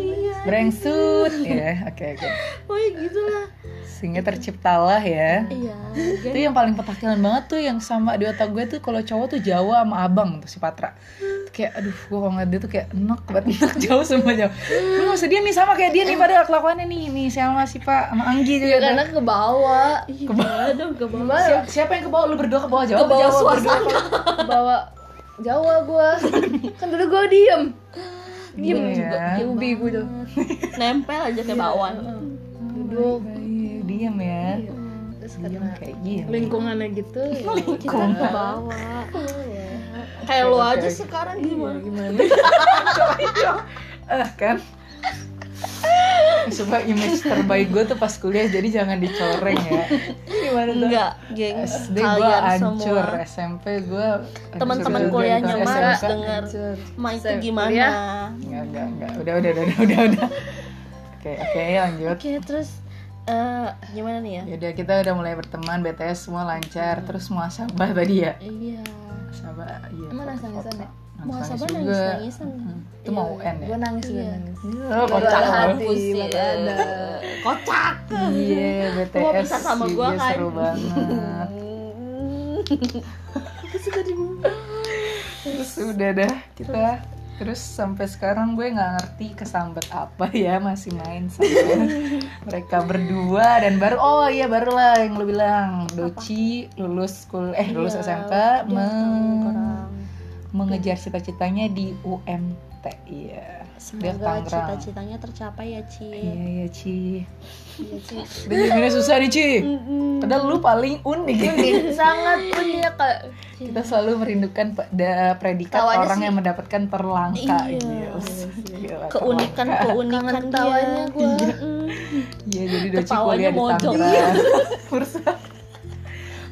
[SPEAKER 3] iya,
[SPEAKER 1] brengsut ya. Oke oke,
[SPEAKER 3] pokoknya gitulah.
[SPEAKER 1] sehingga terciptalah ya.
[SPEAKER 3] Iya,
[SPEAKER 1] Itu yang paling petakilan banget tuh yang sama di otak gue tuh kalau cowok tuh Jawa sama abang tuh si Patra. Tuh kayak aduh gue kalau ngeliat dia tuh kayak enak banget enak jauh semua jauh. Lu maksud dia nih sama kayak dia nih pada kelakuannya nih nih sama si Pak sama Anggi juga. kan."
[SPEAKER 4] ya karena ke bawah
[SPEAKER 3] iya, gimana dong, gimana?
[SPEAKER 1] Siapa, siapa yang ke bawah? Lu berdua ke bawah Jawa?
[SPEAKER 3] Ke bawah
[SPEAKER 1] Jawa, berdua.
[SPEAKER 4] bawa Jawa gua kan dulu gua diem diem Iya.
[SPEAKER 1] Iya.
[SPEAKER 4] juga di ubi gua tuh
[SPEAKER 3] Nempel aja ke bawah.
[SPEAKER 4] duduk
[SPEAKER 1] Iya, Diam ya.
[SPEAKER 4] Hmm, terus
[SPEAKER 1] Diam
[SPEAKER 4] karena
[SPEAKER 1] kayak gini.
[SPEAKER 4] lingkungannya gitu ya
[SPEAKER 3] kita ke bawah
[SPEAKER 4] Iya.
[SPEAKER 3] kayak lo aja sekarang gimana
[SPEAKER 4] gimana
[SPEAKER 1] Eh kan Coba image terbaik gue tuh pas kuliah jadi jangan dicoreng ya Gimana tuh?
[SPEAKER 3] enggak geng
[SPEAKER 1] SD gue
[SPEAKER 3] kalian
[SPEAKER 1] hancur,
[SPEAKER 3] semua
[SPEAKER 1] SMP gue
[SPEAKER 3] Teman-teman kuliahnya
[SPEAKER 1] kuliahnya
[SPEAKER 3] Mas
[SPEAKER 1] enggak,
[SPEAKER 3] denger Ma itu
[SPEAKER 4] Saya
[SPEAKER 3] gimana
[SPEAKER 4] kuliah.
[SPEAKER 1] enggak, enggak, udah, udah, udah, udah, udah, udah. Oke, oke lanjut
[SPEAKER 3] oke terus eh gimana nih ya
[SPEAKER 1] Yaudah kita udah mulai berteman, BTS semua lancar Terus muasabah tadi ya
[SPEAKER 3] iya
[SPEAKER 1] Muasabah, iya
[SPEAKER 4] Emang nangis-nangisan ya?
[SPEAKER 3] muasabah
[SPEAKER 1] juga.
[SPEAKER 3] nangis nangisan
[SPEAKER 1] Hmm, Itu mau UN ya?
[SPEAKER 4] gua nangis gua
[SPEAKER 3] Iya.
[SPEAKER 4] nangis
[SPEAKER 1] Oh,
[SPEAKER 4] Patah
[SPEAKER 1] kocak
[SPEAKER 4] Patah
[SPEAKER 1] loh.
[SPEAKER 4] hati,
[SPEAKER 3] Pusing.
[SPEAKER 4] patah ada.
[SPEAKER 3] kocak
[SPEAKER 1] Iya, BTS
[SPEAKER 3] Lu mau pisah sama
[SPEAKER 1] iya,
[SPEAKER 3] gua kan?
[SPEAKER 1] seru banget Terus udah dah kita Terus sampai sekarang gue nggak ngerti kesambet apa ya masih main sama mereka berdua dan baru oh iya barulah yang lo bilang Doci lulus kul eh lulus
[SPEAKER 3] Iya,
[SPEAKER 1] SMK
[SPEAKER 3] dia
[SPEAKER 1] me-
[SPEAKER 3] Tangerang.
[SPEAKER 1] mengejar cita-citanya di UMT iya
[SPEAKER 3] semoga
[SPEAKER 1] Tangerang.
[SPEAKER 3] cita-citanya tercapai ya Ci
[SPEAKER 1] iya iya Ci
[SPEAKER 3] Iya, Ci.
[SPEAKER 1] Ini susah nih Ci
[SPEAKER 3] Mm-mm. Iya,
[SPEAKER 1] Padahal lu paling unik
[SPEAKER 4] sangat punya kak
[SPEAKER 1] Kita selalu merindukan pada predikat
[SPEAKER 3] Tawanya
[SPEAKER 1] orang
[SPEAKER 3] sih-
[SPEAKER 1] yang mendapatkan perlangka
[SPEAKER 3] Iya.
[SPEAKER 1] Gils. Gila,
[SPEAKER 3] keunikan
[SPEAKER 1] perlangka.
[SPEAKER 3] keunikan
[SPEAKER 4] Kangen ketawanya
[SPEAKER 3] dia
[SPEAKER 4] gua.
[SPEAKER 3] Mm.
[SPEAKER 1] Iya jadi Doci
[SPEAKER 3] Ketawanya
[SPEAKER 1] kuliah di
[SPEAKER 3] mojok.
[SPEAKER 1] Tangerang Bursa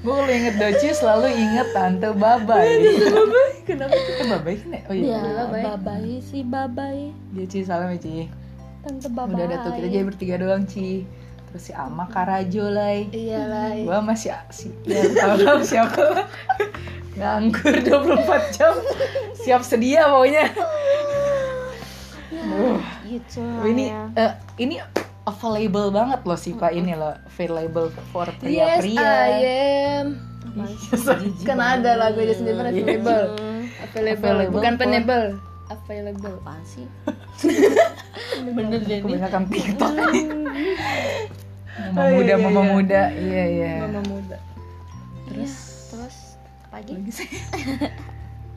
[SPEAKER 1] Gue kalau inget Doci selalu inget Tante Babai
[SPEAKER 4] kenapa
[SPEAKER 1] Tante Babai kan ya? Oh iya
[SPEAKER 3] Ya,
[SPEAKER 4] babai.
[SPEAKER 3] babai si babai,
[SPEAKER 1] Iya Ci salam ya Ci
[SPEAKER 3] tante babai.
[SPEAKER 1] Udah ada tuh kita jadi bertiga doang Ci Terus si Ama Karajo lah
[SPEAKER 4] Iya. iyalah
[SPEAKER 1] Gua sama si, si ya, tau lah siapa lah. Nganggur 24 jam Siap sedia pokoknya Duh,
[SPEAKER 3] gitu.
[SPEAKER 1] Ini eh, ini available banget loh sih Pak ini loh Available for
[SPEAKER 4] yes ah, iya.
[SPEAKER 1] pria-pria Iya,
[SPEAKER 4] I am kan ada lagu aja sendiri kan available available
[SPEAKER 1] Available
[SPEAKER 4] bukan
[SPEAKER 1] for-
[SPEAKER 4] penable available
[SPEAKER 3] Apaan sih? Bener deh ini.
[SPEAKER 1] Kebanyakan TikTok nih. Mama muda, mama muda Iya, iya
[SPEAKER 4] mama muda
[SPEAKER 1] Terus
[SPEAKER 3] Iya, Terus pagi
[SPEAKER 1] lagi sih.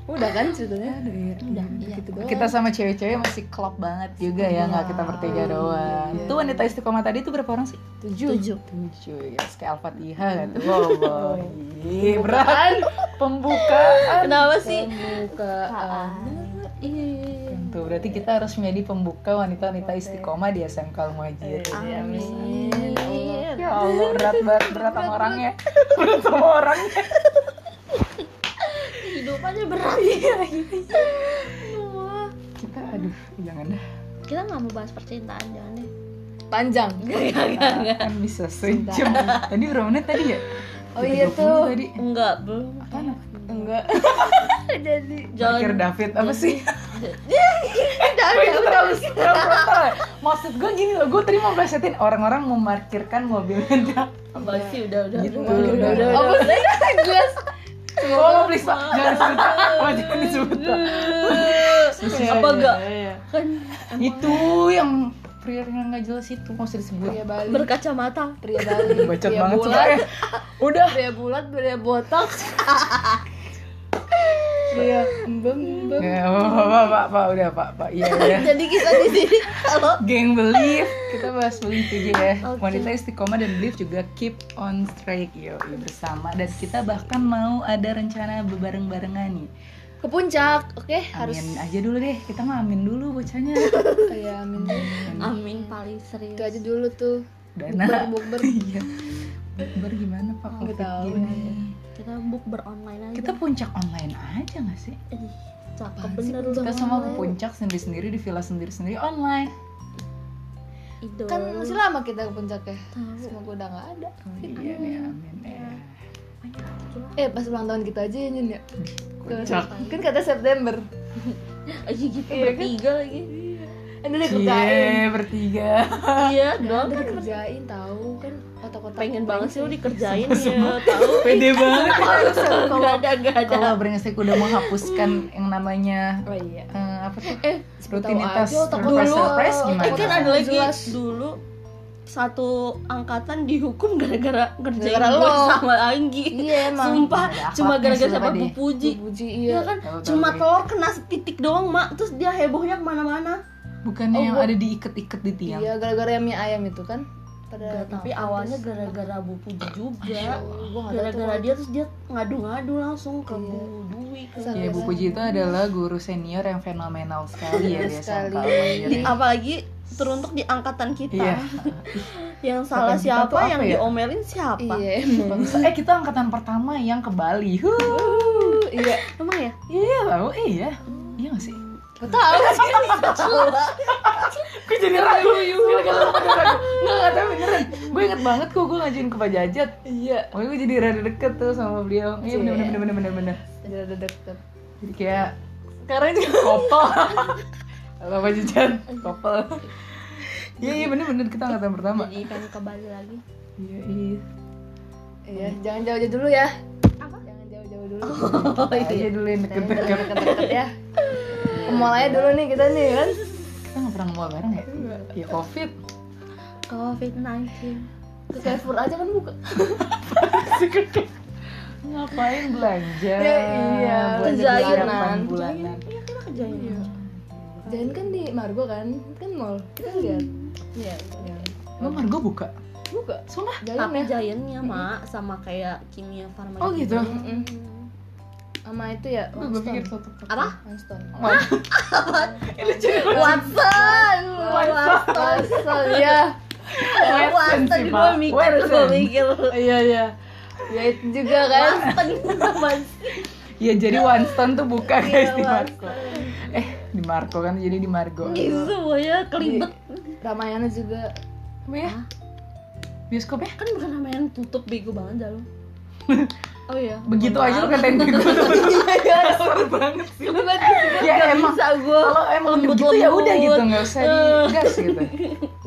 [SPEAKER 4] udah kan ceritanya
[SPEAKER 1] Aduh, iya.
[SPEAKER 3] udah iya.
[SPEAKER 4] gitu doang
[SPEAKER 1] Kita sama cewek-cewek masih klop banget juga ya nggak kita bertiga doang Itu wanita istiqomah tadi tuh berapa orang sih?
[SPEAKER 3] Tujuh.
[SPEAKER 1] Tujuh ya, kayak Al-Fatihah kan tuh Wow, boy. Ih, berat
[SPEAKER 4] oh,
[SPEAKER 1] Pembukaan
[SPEAKER 3] Kenapa sih?
[SPEAKER 1] Ah,
[SPEAKER 3] Ah.
[SPEAKER 4] bukaan
[SPEAKER 3] Iya.
[SPEAKER 1] Tuh, berarti kita harus menjadi pembuka wanita-wanita istiqomah di SMK Al-Muhajir
[SPEAKER 4] iya,
[SPEAKER 3] Amin.
[SPEAKER 4] Oh,
[SPEAKER 1] Ya Allah, berat berat berat sama orangnya Berat sama orangnya
[SPEAKER 3] Kehidupannya berat ya.
[SPEAKER 1] Kita, aduh, jangan dah
[SPEAKER 3] Kita nggak mau bahas percintaan jangan deh.
[SPEAKER 4] panjang
[SPEAKER 1] kan bisa sejam tadi berapa menit tadi ya
[SPEAKER 4] Oh iya
[SPEAKER 1] 30
[SPEAKER 4] tuh.
[SPEAKER 1] tadi
[SPEAKER 3] Enggak belum.
[SPEAKER 4] enggak jadi
[SPEAKER 1] Akhir
[SPEAKER 3] Jangan. Iya.
[SPEAKER 1] David apa sih
[SPEAKER 4] Eh,
[SPEAKER 1] Gue itu terlalu terlalu frontal ya. maksud gue gini loh gue tadi mau plesetin orang-orang memarkirkan mobilnya dia
[SPEAKER 3] Apa sih udah udah.
[SPEAKER 1] gitu
[SPEAKER 3] udah.
[SPEAKER 1] udah udah
[SPEAKER 4] apa sih jelas
[SPEAKER 1] oh please pak jangan disebut pak Oh, jangan disebut pak
[SPEAKER 3] Iya. Apa enggak?
[SPEAKER 1] iya.
[SPEAKER 3] Kan
[SPEAKER 1] itu yang pria yang nggak jelas itu nggak usah disebut
[SPEAKER 4] Pria Bali.
[SPEAKER 3] berkacamata.
[SPEAKER 4] Pria Bali.
[SPEAKER 1] bacot
[SPEAKER 4] pria
[SPEAKER 1] banget
[SPEAKER 4] bulat,
[SPEAKER 1] sih udah
[SPEAKER 4] Pria bulat, pria botak.
[SPEAKER 1] iya
[SPEAKER 4] Bem, bem.
[SPEAKER 1] pak pak pak udah pak pak iya iya
[SPEAKER 3] Jadi kita di sini kalau
[SPEAKER 1] geng belief kita bahas belief aja ya
[SPEAKER 3] Oke.
[SPEAKER 1] wanita istiqomah dan belief juga keep on strike yo bersama dan kita bahkan mau ada rencana bebareng barengan nih
[SPEAKER 4] Ke puncak, oke? Harus.
[SPEAKER 1] amin aja dulu deh kita mah amin dulu bocahnya
[SPEAKER 4] Iya, amin.
[SPEAKER 3] Amin paling serius.
[SPEAKER 4] Itu aja dulu tuh.
[SPEAKER 1] dana
[SPEAKER 3] Nah,
[SPEAKER 4] Bukber, bukber.
[SPEAKER 1] iya bukber gimana pak
[SPEAKER 4] Nggak
[SPEAKER 1] covid
[SPEAKER 4] tahu
[SPEAKER 1] gini
[SPEAKER 3] Kita book beronline aja.
[SPEAKER 1] kita puncak online aja nggak sih
[SPEAKER 3] Ih, cakep
[SPEAKER 1] Apaan sih?
[SPEAKER 3] bener
[SPEAKER 1] kita semua ke
[SPEAKER 3] online.
[SPEAKER 1] puncak sendiri sendiri di villa sendiri sendiri online
[SPEAKER 3] Idol.
[SPEAKER 4] Kan masih lama kita ke puncak ya.
[SPEAKER 3] Tahu.
[SPEAKER 4] Semoga udah nggak ada.
[SPEAKER 1] Oh, iya deh amin ya
[SPEAKER 4] Eh, pas ulang tahun kita aja ya, Nyun ya.
[SPEAKER 1] Puncak.
[SPEAKER 4] Kan kata September.
[SPEAKER 3] Aja gitu
[SPEAKER 4] Iya, kan?
[SPEAKER 3] bertiga lagi.
[SPEAKER 4] Ini Eh, udah kerjain.
[SPEAKER 1] Cie, bertiga
[SPEAKER 3] Iya, dong.
[SPEAKER 4] Udah kerjain tahu kan otak-otak
[SPEAKER 3] Pengen banget sih lu dikerjain ya, tahu.
[SPEAKER 1] pede banget
[SPEAKER 3] Enggak ada, enggak ada. Eh,
[SPEAKER 1] kalau brengsek udah menghapuskan yang namanya
[SPEAKER 4] Oh iya.
[SPEAKER 1] eh, apa tuh
[SPEAKER 3] Eh,
[SPEAKER 1] rutinitas
[SPEAKER 4] tahu aja, otak
[SPEAKER 1] surprise
[SPEAKER 4] dulu.
[SPEAKER 1] surprise
[SPEAKER 4] Otak
[SPEAKER 1] gimana
[SPEAKER 3] Eh, kan ada lagi
[SPEAKER 4] Jelas.
[SPEAKER 3] dulu satu angkatan dihukum gara-gara ngerjain
[SPEAKER 4] Gara-gara
[SPEAKER 3] gue
[SPEAKER 4] lo.
[SPEAKER 3] sama Anggi.
[SPEAKER 4] Iya emang.
[SPEAKER 3] Sumpah,
[SPEAKER 1] Ada
[SPEAKER 3] cuma
[SPEAKER 1] akhlaknya
[SPEAKER 3] gara-gara
[SPEAKER 1] sih
[SPEAKER 3] sama
[SPEAKER 1] tadi.
[SPEAKER 3] Bu Puji.
[SPEAKER 4] Puji
[SPEAKER 3] Iya
[SPEAKER 4] iya.
[SPEAKER 3] kan,
[SPEAKER 1] Tahu, tahu,
[SPEAKER 3] cuma
[SPEAKER 1] tahu.
[SPEAKER 3] telur kena setitik doang, Mak. Terus dia hebohnya kemana-mana.
[SPEAKER 1] bukannya
[SPEAKER 4] Oh,
[SPEAKER 1] yang
[SPEAKER 4] gua-
[SPEAKER 1] ada diikat-ikat di tiang
[SPEAKER 4] Iya, gara-gara yang mie ayam itu kan. Pada
[SPEAKER 3] Gak, tapi awalnya gara-gara Bu Puji juga.
[SPEAKER 4] gue nggak tahu
[SPEAKER 3] Gara-gara dia terus dia ngadu-ngadu langsung ke Bu Dwi. ke-
[SPEAKER 4] Sama-
[SPEAKER 1] Ya, Bu Puji itu adalah guru senior yang fenomenal sekali ya dia
[SPEAKER 4] Sekali.
[SPEAKER 1] sama Iya,
[SPEAKER 3] Apalagi teruntuk di angkatan kita.
[SPEAKER 1] Iya.
[SPEAKER 3] Yang salah
[SPEAKER 1] Angkatan kita
[SPEAKER 3] siapa,
[SPEAKER 1] tuh apa
[SPEAKER 3] yang
[SPEAKER 1] ya?
[SPEAKER 3] diomelin siapa?
[SPEAKER 4] Iya,
[SPEAKER 1] Eh kita angkatan pertama yang ke Bali. Huh.
[SPEAKER 4] iya.
[SPEAKER 3] Emang ya?
[SPEAKER 1] Iya tahu iya. Iya gak sih?
[SPEAKER 4] Gak tau sih.
[SPEAKER 3] Kan
[SPEAKER 1] Gue jadi ragu. Gila, gila, gila, gila, ragu. Nggak, nggak, tapi beneran. Gue inget banget kok gue ngajuin ke Pak Jajat.
[SPEAKER 4] Iya.
[SPEAKER 1] Makanya gue jadi rada deket tuh sama beliau. Iya bener bener bener bener bener.
[SPEAKER 4] Udah udah deket.
[SPEAKER 1] Jadi kayak
[SPEAKER 4] Sekarang juga
[SPEAKER 1] kopel. Kalau Pak Jajat kopel. Iya iya bener bener kita angkatan pertama.
[SPEAKER 3] Jadi pengen ke Bali lagi.
[SPEAKER 1] Iya iya.
[SPEAKER 4] Iya, jangan jauh-jauh dulu ya. Jangan jauh-jauh dulu.
[SPEAKER 1] Oh, aja dulu yang deket-deket.
[SPEAKER 4] kan. Deket-deket ya. Ke mall aja dulu nih kita nih kan.
[SPEAKER 1] Kita nggak pernah ngomong bareng ya? Ya covid.
[SPEAKER 3] COVID-19.
[SPEAKER 4] Ke Carrefour aja kan buka.
[SPEAKER 1] Ngapain belanja?
[SPEAKER 4] Ya, iya.
[SPEAKER 1] belanja
[SPEAKER 4] Kejairan.
[SPEAKER 1] bulanan. bulanan.
[SPEAKER 3] Iya, kita kerjain.
[SPEAKER 4] Jangan kan di Margo kan? Kan mall. Kita lihat.
[SPEAKER 3] Iya.
[SPEAKER 4] Jangan.
[SPEAKER 1] Emang Margo buka?
[SPEAKER 4] Buka.
[SPEAKER 1] Sumpah?
[SPEAKER 4] Jangan
[SPEAKER 3] Tapi
[SPEAKER 4] ya.
[SPEAKER 3] giantnya, Mak, sama kayak kimia farma.
[SPEAKER 1] Oh gitu?
[SPEAKER 4] Mm-mm. Sama itu ya.
[SPEAKER 1] Gue pikir tutup
[SPEAKER 3] Apa?
[SPEAKER 4] Winston.
[SPEAKER 3] Watson. Watson.
[SPEAKER 4] Winston ya.
[SPEAKER 3] Watson
[SPEAKER 1] sih,
[SPEAKER 3] gue
[SPEAKER 1] Pak.
[SPEAKER 3] mikir, gue
[SPEAKER 1] Watson.
[SPEAKER 3] mikir.
[SPEAKER 1] Iya iya.
[SPEAKER 4] Ya itu juga kan.
[SPEAKER 3] Watson.
[SPEAKER 1] Iya jadi Winston tuh buka guys di
[SPEAKER 3] Iya,
[SPEAKER 1] Marco. Eh di Marco kan jadi di Margo.
[SPEAKER 4] Iya.
[SPEAKER 3] Gitu semuanya kelibet.
[SPEAKER 4] Ramayana juga.
[SPEAKER 1] Apa
[SPEAKER 3] Iya.
[SPEAKER 1] ya? Bioskop ya?
[SPEAKER 3] Kan bukan namanya yang tutup bego banget dah lu. Oh iya.
[SPEAKER 1] Begitu aja lu katain gue gue tuh. Kasar banget sih. lu. Ya emang
[SPEAKER 3] Bisa gue.
[SPEAKER 1] kalau emang
[SPEAKER 3] Lembut,
[SPEAKER 1] begitu ya udah gitu
[SPEAKER 3] lembut.
[SPEAKER 1] nggak usah digas gitu.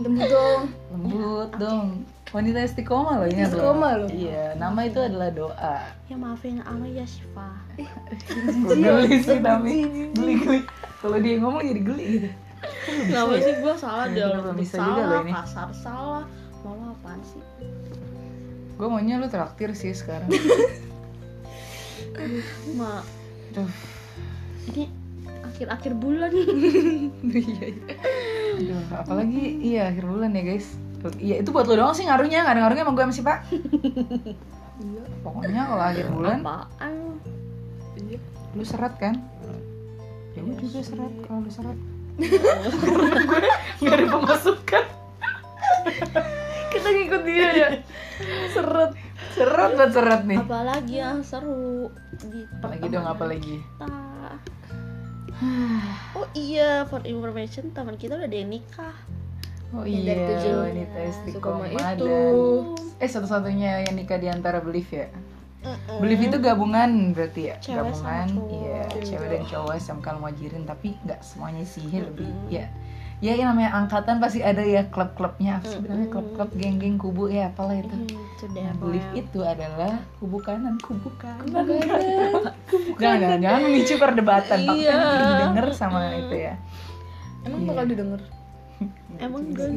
[SPEAKER 4] Demi dong.
[SPEAKER 1] Lembut dong. Wanita istiqomah loh ini adalah-
[SPEAKER 4] Istiqomah loh.
[SPEAKER 1] Iya, nama itu adalah doa.
[SPEAKER 3] Ya maafin ama ya Syifa.
[SPEAKER 1] Gue
[SPEAKER 4] Iya.
[SPEAKER 1] geli sih tapi geli geli. Kalau dia ngomong jadi geli gitu.
[SPEAKER 3] Kenapa sih gue salah
[SPEAKER 1] Nah,
[SPEAKER 3] deh?
[SPEAKER 1] kenapa bisa juga lo
[SPEAKER 3] Salah,
[SPEAKER 1] ini?
[SPEAKER 3] kasar salah. Mama apaan sih?
[SPEAKER 1] Gue maunya lu traktir sih sekarang.
[SPEAKER 3] Ma,
[SPEAKER 1] Duh.
[SPEAKER 3] ini akhir-akhir bulan
[SPEAKER 1] Iya. iya. Aduh, apalagi iya akhir bulan ya guys. Tuh, Iya itu buat lo doang sih ngaruhnya, nggak ada ngaruhnya emang gue masih pak.
[SPEAKER 4] Iya.
[SPEAKER 1] Pokoknya kalau akhir bulan
[SPEAKER 3] apaan?
[SPEAKER 1] lu seret kan? Ya gue juga seret kalau lu seret. Karena gue nggak ada pemasukan.
[SPEAKER 4] Kita ngikut dia ya. Seret.
[SPEAKER 1] Seret buat seret nih.
[SPEAKER 3] Apalagi yang seru di
[SPEAKER 1] Eh. Apalagi dong
[SPEAKER 3] pertemanan
[SPEAKER 1] apalagi.
[SPEAKER 3] kita. Oh iya, for information teman kita udah ada yang nikah.
[SPEAKER 1] Oh
[SPEAKER 4] Yang
[SPEAKER 1] iya,
[SPEAKER 4] dari tujuh.
[SPEAKER 1] wanita istiqomah
[SPEAKER 4] Istiqomah itu.
[SPEAKER 1] dan- Eh satu-satunya yang nikah di antara belief ya?
[SPEAKER 3] Eh,
[SPEAKER 1] Belief itu gabungan berarti ya?
[SPEAKER 3] Mm-hmm. Cewek sama
[SPEAKER 1] gabungan,
[SPEAKER 3] cowok.
[SPEAKER 1] iya cewek dan cowok SMK Muajirin tapi nggak semuanya sih ya lebih ya ya ini namanya angkatan pasti ada ya klub-klubnya apa sih bilangnya klub-klub geng-geng kubu ya apalah itu
[SPEAKER 3] Hmm, sudah
[SPEAKER 1] Nah, belief itu adalah kubu kanan, kubu kanan. Jangan-jangan jangan memicu perdebatan,
[SPEAKER 3] Iya.
[SPEAKER 1] iya. didengar sama itu ya.
[SPEAKER 4] Emang
[SPEAKER 1] Iya.
[SPEAKER 4] bakal didengar?
[SPEAKER 3] Emang
[SPEAKER 1] Jadi, Gitu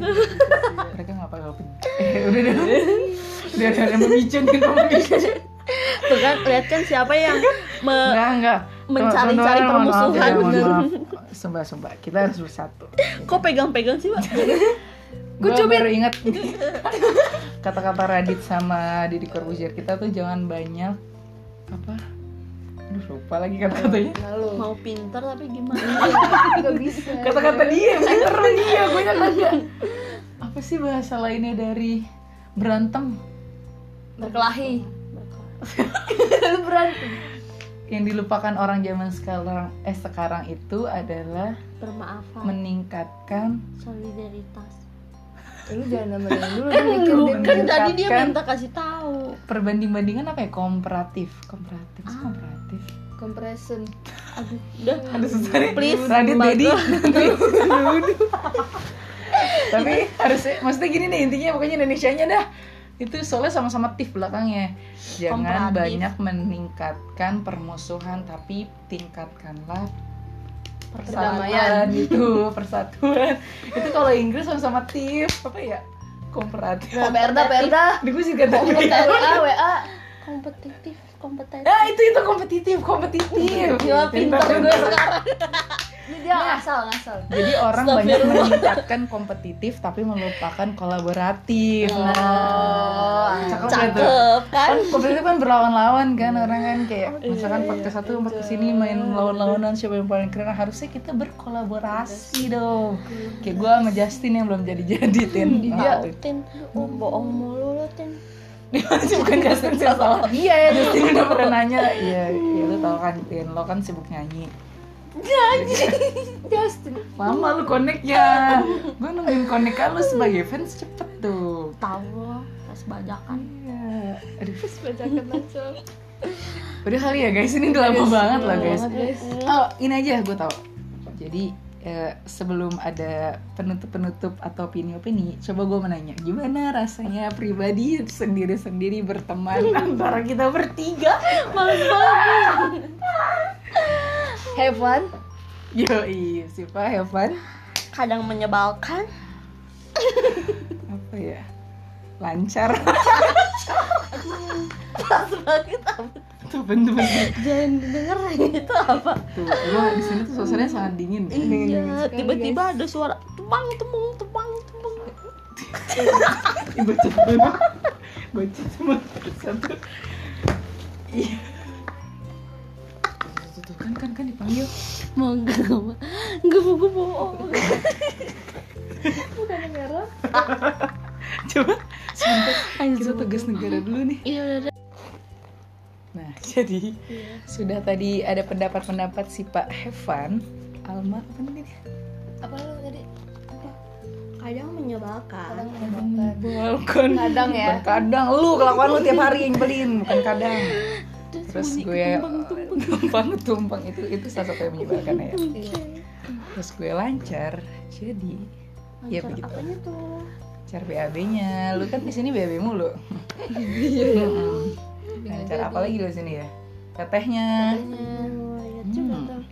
[SPEAKER 1] Mereka nggak bakal pe- Eh, udah udah udah udah udah memicu nih udah memicu.
[SPEAKER 3] tuh kan lihat kan siapa yang me-
[SPEAKER 1] Enggak enggak.
[SPEAKER 3] Mencari-cari
[SPEAKER 1] Teman-teman, mohon maaf
[SPEAKER 3] permusuhan,
[SPEAKER 1] ya, mohon
[SPEAKER 3] bener.
[SPEAKER 1] maaf. Sumpah sumpah kita harus bersatu.
[SPEAKER 3] kok pegang-pegang sih pak
[SPEAKER 1] Gue baru ingat kata-kata Radit sama Didi Corbuzier kita tuh jangan banyak apa Aduh, lupa lagi kata-katanya
[SPEAKER 4] Lalu.
[SPEAKER 3] mau pinter tapi gimana
[SPEAKER 4] Gak bisa.
[SPEAKER 1] kata-kata dia bener dia gue yang kagak apa sih bahasa lainnya dari berantem
[SPEAKER 2] berkelahi
[SPEAKER 1] yang dilupakan orang zaman sekarang eh sekarang itu adalah
[SPEAKER 2] bermaafan
[SPEAKER 1] meningkatkan
[SPEAKER 2] solidaritas
[SPEAKER 4] Lu jangan nambahin dulu lu mikir
[SPEAKER 1] lu
[SPEAKER 4] deh.
[SPEAKER 3] kan tadi dia
[SPEAKER 1] Meningkatkan.
[SPEAKER 3] minta kasih tahu
[SPEAKER 1] perbanding-bandingan apa ya komparatif komparatif
[SPEAKER 3] Ah.
[SPEAKER 1] Masa komparatif
[SPEAKER 4] Compression.
[SPEAKER 3] udah
[SPEAKER 1] ada susah nih
[SPEAKER 3] Please,
[SPEAKER 1] Radit
[SPEAKER 3] Mbak
[SPEAKER 1] Dedi
[SPEAKER 3] Go.
[SPEAKER 1] tapi harusnya maksudnya gini nih intinya pokoknya Indonesia nya dah itu soalnya sama-sama tif belakangnya jangan
[SPEAKER 3] Komparatif.
[SPEAKER 1] banyak meningkatkan permusuhan tapi tingkatkanlah persatuan
[SPEAKER 4] Perdamaian.
[SPEAKER 1] itu persatuan itu kalau Inggris sama-sama tif apa ya komparatif
[SPEAKER 4] Nah, Perda, Perda.
[SPEAKER 1] di gue sih kata
[SPEAKER 4] WA, WA.
[SPEAKER 2] kompetitif kompeten
[SPEAKER 1] Nah itu itu kompetitif kompetitif
[SPEAKER 3] Gila, pinter gue sekarang
[SPEAKER 4] Ini dia ngasal, ngasal.
[SPEAKER 1] Jadi orang
[SPEAKER 3] Stop
[SPEAKER 1] banyak
[SPEAKER 3] ya, lu.
[SPEAKER 1] meningkatkan kompetitif tapi melupakan kolaboratif. Nah,
[SPEAKER 4] Oh,
[SPEAKER 1] cakep, nggak tuh?
[SPEAKER 3] cakep kan
[SPEAKER 1] Kan kompetitif kan berlawan-lawan kan orang kan kayak misalkan podcast satu empat kesini main lawan-lawanan siapa yang paling keren Nah, harusnya kita berkolaborasi dong. Kayak gue sama Justin yang belum jadi-jadi tin. Nah, tuh.
[SPEAKER 2] tin oh, bohong mulu lo tin
[SPEAKER 1] bukan Justin sih yang salah. Iya ya Justin udah pernah nanya. Iya, iya lu tau kan tin lo kan sibuk nyanyi.
[SPEAKER 4] Justin.
[SPEAKER 1] Lama lu koneknya. Gue nungguin konek lu sebagai fans cepet tuh.
[SPEAKER 2] tahu lo tes bajakan
[SPEAKER 1] Iya. Aduh,
[SPEAKER 4] Terus bacakan langsung.
[SPEAKER 1] udah kali ya guys, ini udah lama banget lah guys.
[SPEAKER 4] guys.
[SPEAKER 1] Oh, ini aja gue tau. Jadi eh, sebelum ada penutup-penutup atau opini-opini, coba gue menanya, gimana rasanya pribadi sendiri-sendiri berteman antara kita bertiga?
[SPEAKER 4] Have fun.
[SPEAKER 1] Yoi, siapa Heaven?
[SPEAKER 3] kadang menyebalkan
[SPEAKER 1] Apa ya? Lancar.
[SPEAKER 3] pas banget apa
[SPEAKER 1] Tuh bentuk
[SPEAKER 3] jangan didengar itu apa
[SPEAKER 1] Tuh, gue di sini tuh suasananya sangat dingin.
[SPEAKER 3] iya tiba-tiba ada suara tebang tebung tebang tebung
[SPEAKER 1] Ih, baca dulu baca cuma satu iya Tuh, tuh, kan kan kan dipanggil
[SPEAKER 3] mau enggak mau enggak mau gue bohong
[SPEAKER 1] coba sebentar kita tugas negara dulu nih
[SPEAKER 3] Iya,
[SPEAKER 1] nah jadi sudah tadi ada pendapat-pendapat si Pak Hevan Alma apa namanya dia?
[SPEAKER 4] Apa lu tadi?
[SPEAKER 3] kadang menyebalkan
[SPEAKER 4] Kadang menyebalkan.
[SPEAKER 1] Balkon
[SPEAKER 4] Kadang ya.
[SPEAKER 1] Bukan kadang lu kelakuan lu tiap hari yang nyebelin bukan kadang terus gue tumpang tumpang itu itu salah satu yang menyebalkan ya
[SPEAKER 4] Iya.
[SPEAKER 1] terus gue lancar jadi ya begitu
[SPEAKER 2] apanya tuh
[SPEAKER 1] lancar BAB nya lu kan di sini BAB mulu Mm-mm. lancar apa lagi Iya, di sini ya tetehnya
[SPEAKER 2] Oh, iya juga
[SPEAKER 1] Hmm.
[SPEAKER 2] tuh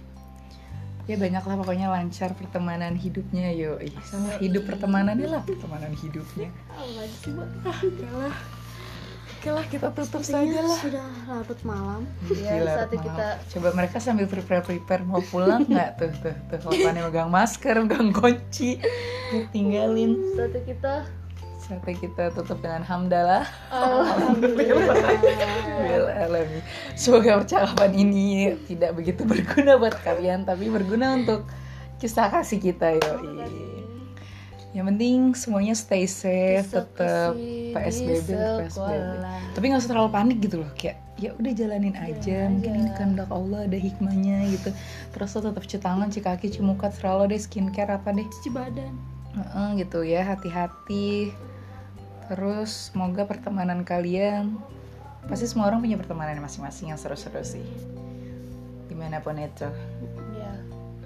[SPEAKER 1] ya banyak lah pokoknya lancar pertemanan hidupnya yo Ih, sama hidup pertemanannya lah pertemanan hidupnya
[SPEAKER 2] apa sih Bu?
[SPEAKER 1] oke lah kita tutup saja lah
[SPEAKER 2] sudah larut malam
[SPEAKER 4] Iya,
[SPEAKER 1] Gila,
[SPEAKER 4] saatnya
[SPEAKER 1] maaf.
[SPEAKER 4] kita-
[SPEAKER 1] coba mereka sambil prepare prepare mau pulang nggak tuh tuh tuh Lapannya megang masker megang kunci tinggalin
[SPEAKER 4] Satu kita.
[SPEAKER 1] sampai kita tutup dengan hamdalah Alhamdulillah. Semoga percakapan ini tidak begitu berguna buat kalian, tapi berguna untuk kisah kasih kita yo. Yang penting semuanya stay safe, tetap PSBB, tetap PSBB. Tapi nggak usah terlalu panik gitu loh, kayak ya udah jalanin aja. Mungkin ini kehendak Allah ada hikmahnya gitu. Terus lo tetap cuci tangan, cuci kaki, cuci muka, terlalu deh skincare apa deh.
[SPEAKER 2] cuci badan
[SPEAKER 1] Heeh, gitu ya, hati-hati. Terus semoga pertemanan kalian pasti semua orang punya pertemanan masing-masing yang seru-seru sih. Dimanapun itu, Ya
[SPEAKER 4] Iya.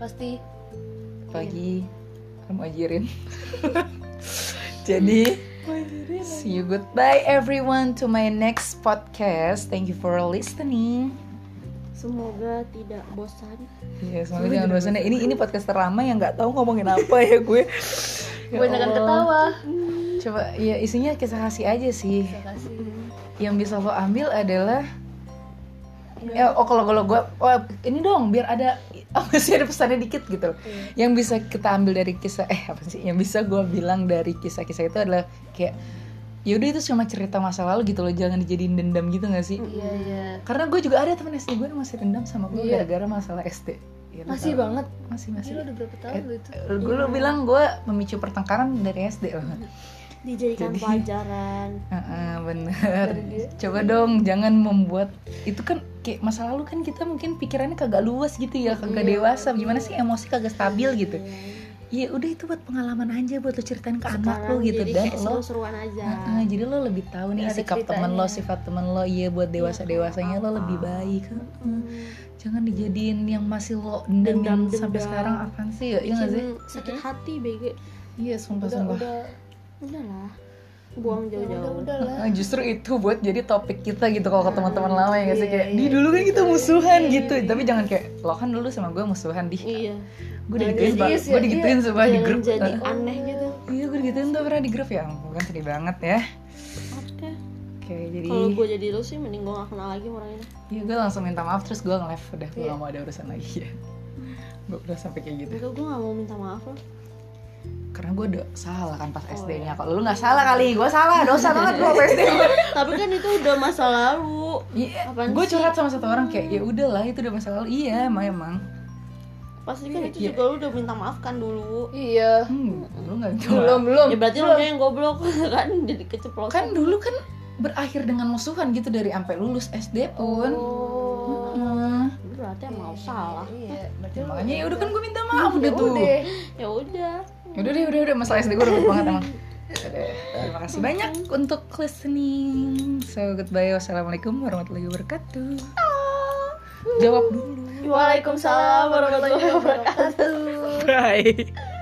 [SPEAKER 4] Pasti
[SPEAKER 1] pagi, kamu ajarin jadi see you goodbye everyone to my next podcast thank you for listening
[SPEAKER 3] Semoga tidak bosan.
[SPEAKER 1] Iya, semoga jangan bosan ya. Ini ini podcast terlama yang nggak tahu ngomongin apa ya gue. Ya
[SPEAKER 3] Kebanyakan
[SPEAKER 1] Allah.
[SPEAKER 3] ketawa.
[SPEAKER 1] Coba ya isinya kisah kasih aja sih.
[SPEAKER 3] Terima kasih.
[SPEAKER 1] Yang bisa lo ambil adalah Ya, oh kalau kalau gue, oh, ini dong biar ada masih ada pesannya dikit gitu. loh. Yang bisa kita ambil dari kisah eh apa sih? Yang bisa gue bilang dari kisah-kisah itu adalah kayak yaudah itu cuma cerita masa lalu gitu loh, jangan dijadiin dendam gitu gak sih?
[SPEAKER 3] Iya, iya.
[SPEAKER 1] Karena gue juga ada temen SD gue yang masih dendam sama gue
[SPEAKER 4] Iya.
[SPEAKER 1] gara-gara masalah SD. Ya, lo
[SPEAKER 4] Masih
[SPEAKER 1] tau.
[SPEAKER 4] banget.
[SPEAKER 1] Masih masih.
[SPEAKER 4] Gila udah berapa tahun
[SPEAKER 1] Eh,
[SPEAKER 4] lo itu?
[SPEAKER 1] Gue lu bilang gue memicu pertengkaran dari SD loh.
[SPEAKER 3] Dijadikan
[SPEAKER 1] Jadi-
[SPEAKER 3] pelajaran.
[SPEAKER 1] Heeh, bener. Coba dong jangan membuat itu kan kayak masa lalu kan kita mungkin pikirannya kagak luas gitu ya, kagak dewasa. Gimana sih emosi kagak stabil gitu. Ya udah itu buat pengalaman aja buat lo ceritain ke anak lo
[SPEAKER 3] Iya. Sekarang
[SPEAKER 1] gitu
[SPEAKER 3] jadi
[SPEAKER 1] dan
[SPEAKER 3] kayak ya.
[SPEAKER 1] lo
[SPEAKER 3] seru-seruan aja.
[SPEAKER 1] Heeh, iya jadi lo lebih tahu nih
[SPEAKER 4] Ada
[SPEAKER 1] sikap temen
[SPEAKER 4] ceritanya.
[SPEAKER 1] lo, sifat temen lo, iya buat dewasa dewasanya lo lebih baik. Heeh. Jangan dijadiin yang masih lo dendamin
[SPEAKER 3] Dendam-dendam.
[SPEAKER 1] sampai sekarang apaan sih ya? Iya nggak sih?
[SPEAKER 3] Hmm. Bikin sakit hati bege.
[SPEAKER 1] Iya sumpah
[SPEAKER 4] Udah,
[SPEAKER 1] sumpah.
[SPEAKER 4] udah,
[SPEAKER 3] Udahlah. Buang
[SPEAKER 4] ya udah,
[SPEAKER 3] jauh-jauh.
[SPEAKER 4] udah lah.
[SPEAKER 1] Nah, justru itu buat jadi topik kita gitu kalau ke teman-teman lama ya nggak sih
[SPEAKER 4] Iya,
[SPEAKER 1] kayak
[SPEAKER 4] iya,
[SPEAKER 1] di dulu kan kita musuhan gitu tapi jangan kayak lo kan dulu sama gue musuhan di
[SPEAKER 3] Iya.
[SPEAKER 1] gue digituin
[SPEAKER 4] jadi
[SPEAKER 1] pak
[SPEAKER 4] yes,
[SPEAKER 1] gue
[SPEAKER 4] ya,
[SPEAKER 1] digituin sama di
[SPEAKER 3] Jangan
[SPEAKER 1] grup
[SPEAKER 3] jadi
[SPEAKER 1] Eh,
[SPEAKER 3] aneh gitu.
[SPEAKER 1] iya gue digituin tuh pernah di grup ya ampun kan sedih banget ya
[SPEAKER 3] Oke.
[SPEAKER 1] oke jadi
[SPEAKER 3] Kalau gue jadi lu sih mending gue gak kenal lagi sama orang ini.
[SPEAKER 1] ya gue langsung minta maaf terus gue nge-live udah
[SPEAKER 3] Iya.
[SPEAKER 1] gue gak mau ada urusan lagi ya gue udah sampai kayak gitu
[SPEAKER 3] Enggak, gue gak mau minta maaf loh.
[SPEAKER 1] karena gue udah salah kan pas
[SPEAKER 3] Oh,
[SPEAKER 1] SD
[SPEAKER 3] iya.
[SPEAKER 1] nya kalau lu nggak salah kali gue salah dosa banget gue pas SD gue
[SPEAKER 3] Tapi kan itu udah masa lalu.
[SPEAKER 1] Iya,
[SPEAKER 3] Apaan
[SPEAKER 1] gue curhat sama satu orang kayak ya udahlah itu udah masa lalu iya emang emang
[SPEAKER 3] Pasti kan itu
[SPEAKER 1] Iya.
[SPEAKER 3] juga lu udah minta maaf kan dulu.
[SPEAKER 4] Iya.
[SPEAKER 1] hmm, lu nggak minta maaf.
[SPEAKER 4] Belum, belum.
[SPEAKER 3] Ya berarti lu
[SPEAKER 4] belum.
[SPEAKER 3] yang goblok kan jadi keceplosan.
[SPEAKER 1] Iya, kan dulu kan berakhir dengan musuhan gitu dari sampai lulus SD pun
[SPEAKER 4] Oh.
[SPEAKER 1] Heeh.
[SPEAKER 3] Berarti emang lu salah.
[SPEAKER 4] Iya, berarti lu-
[SPEAKER 1] makanya ya udah kan gue minta maaf udah tuh
[SPEAKER 4] Udah.
[SPEAKER 3] Ya udah.
[SPEAKER 1] udah deh udah udah masalah SD gue udah banget emang Ya Udah deh. terima kasih banyak untuk listening so goodbye wassalamualaikum warahmatullahi wabarakatuh jawab dulu
[SPEAKER 4] Waalaikumsalam warahmatullahi wabarakatuh.
[SPEAKER 1] bye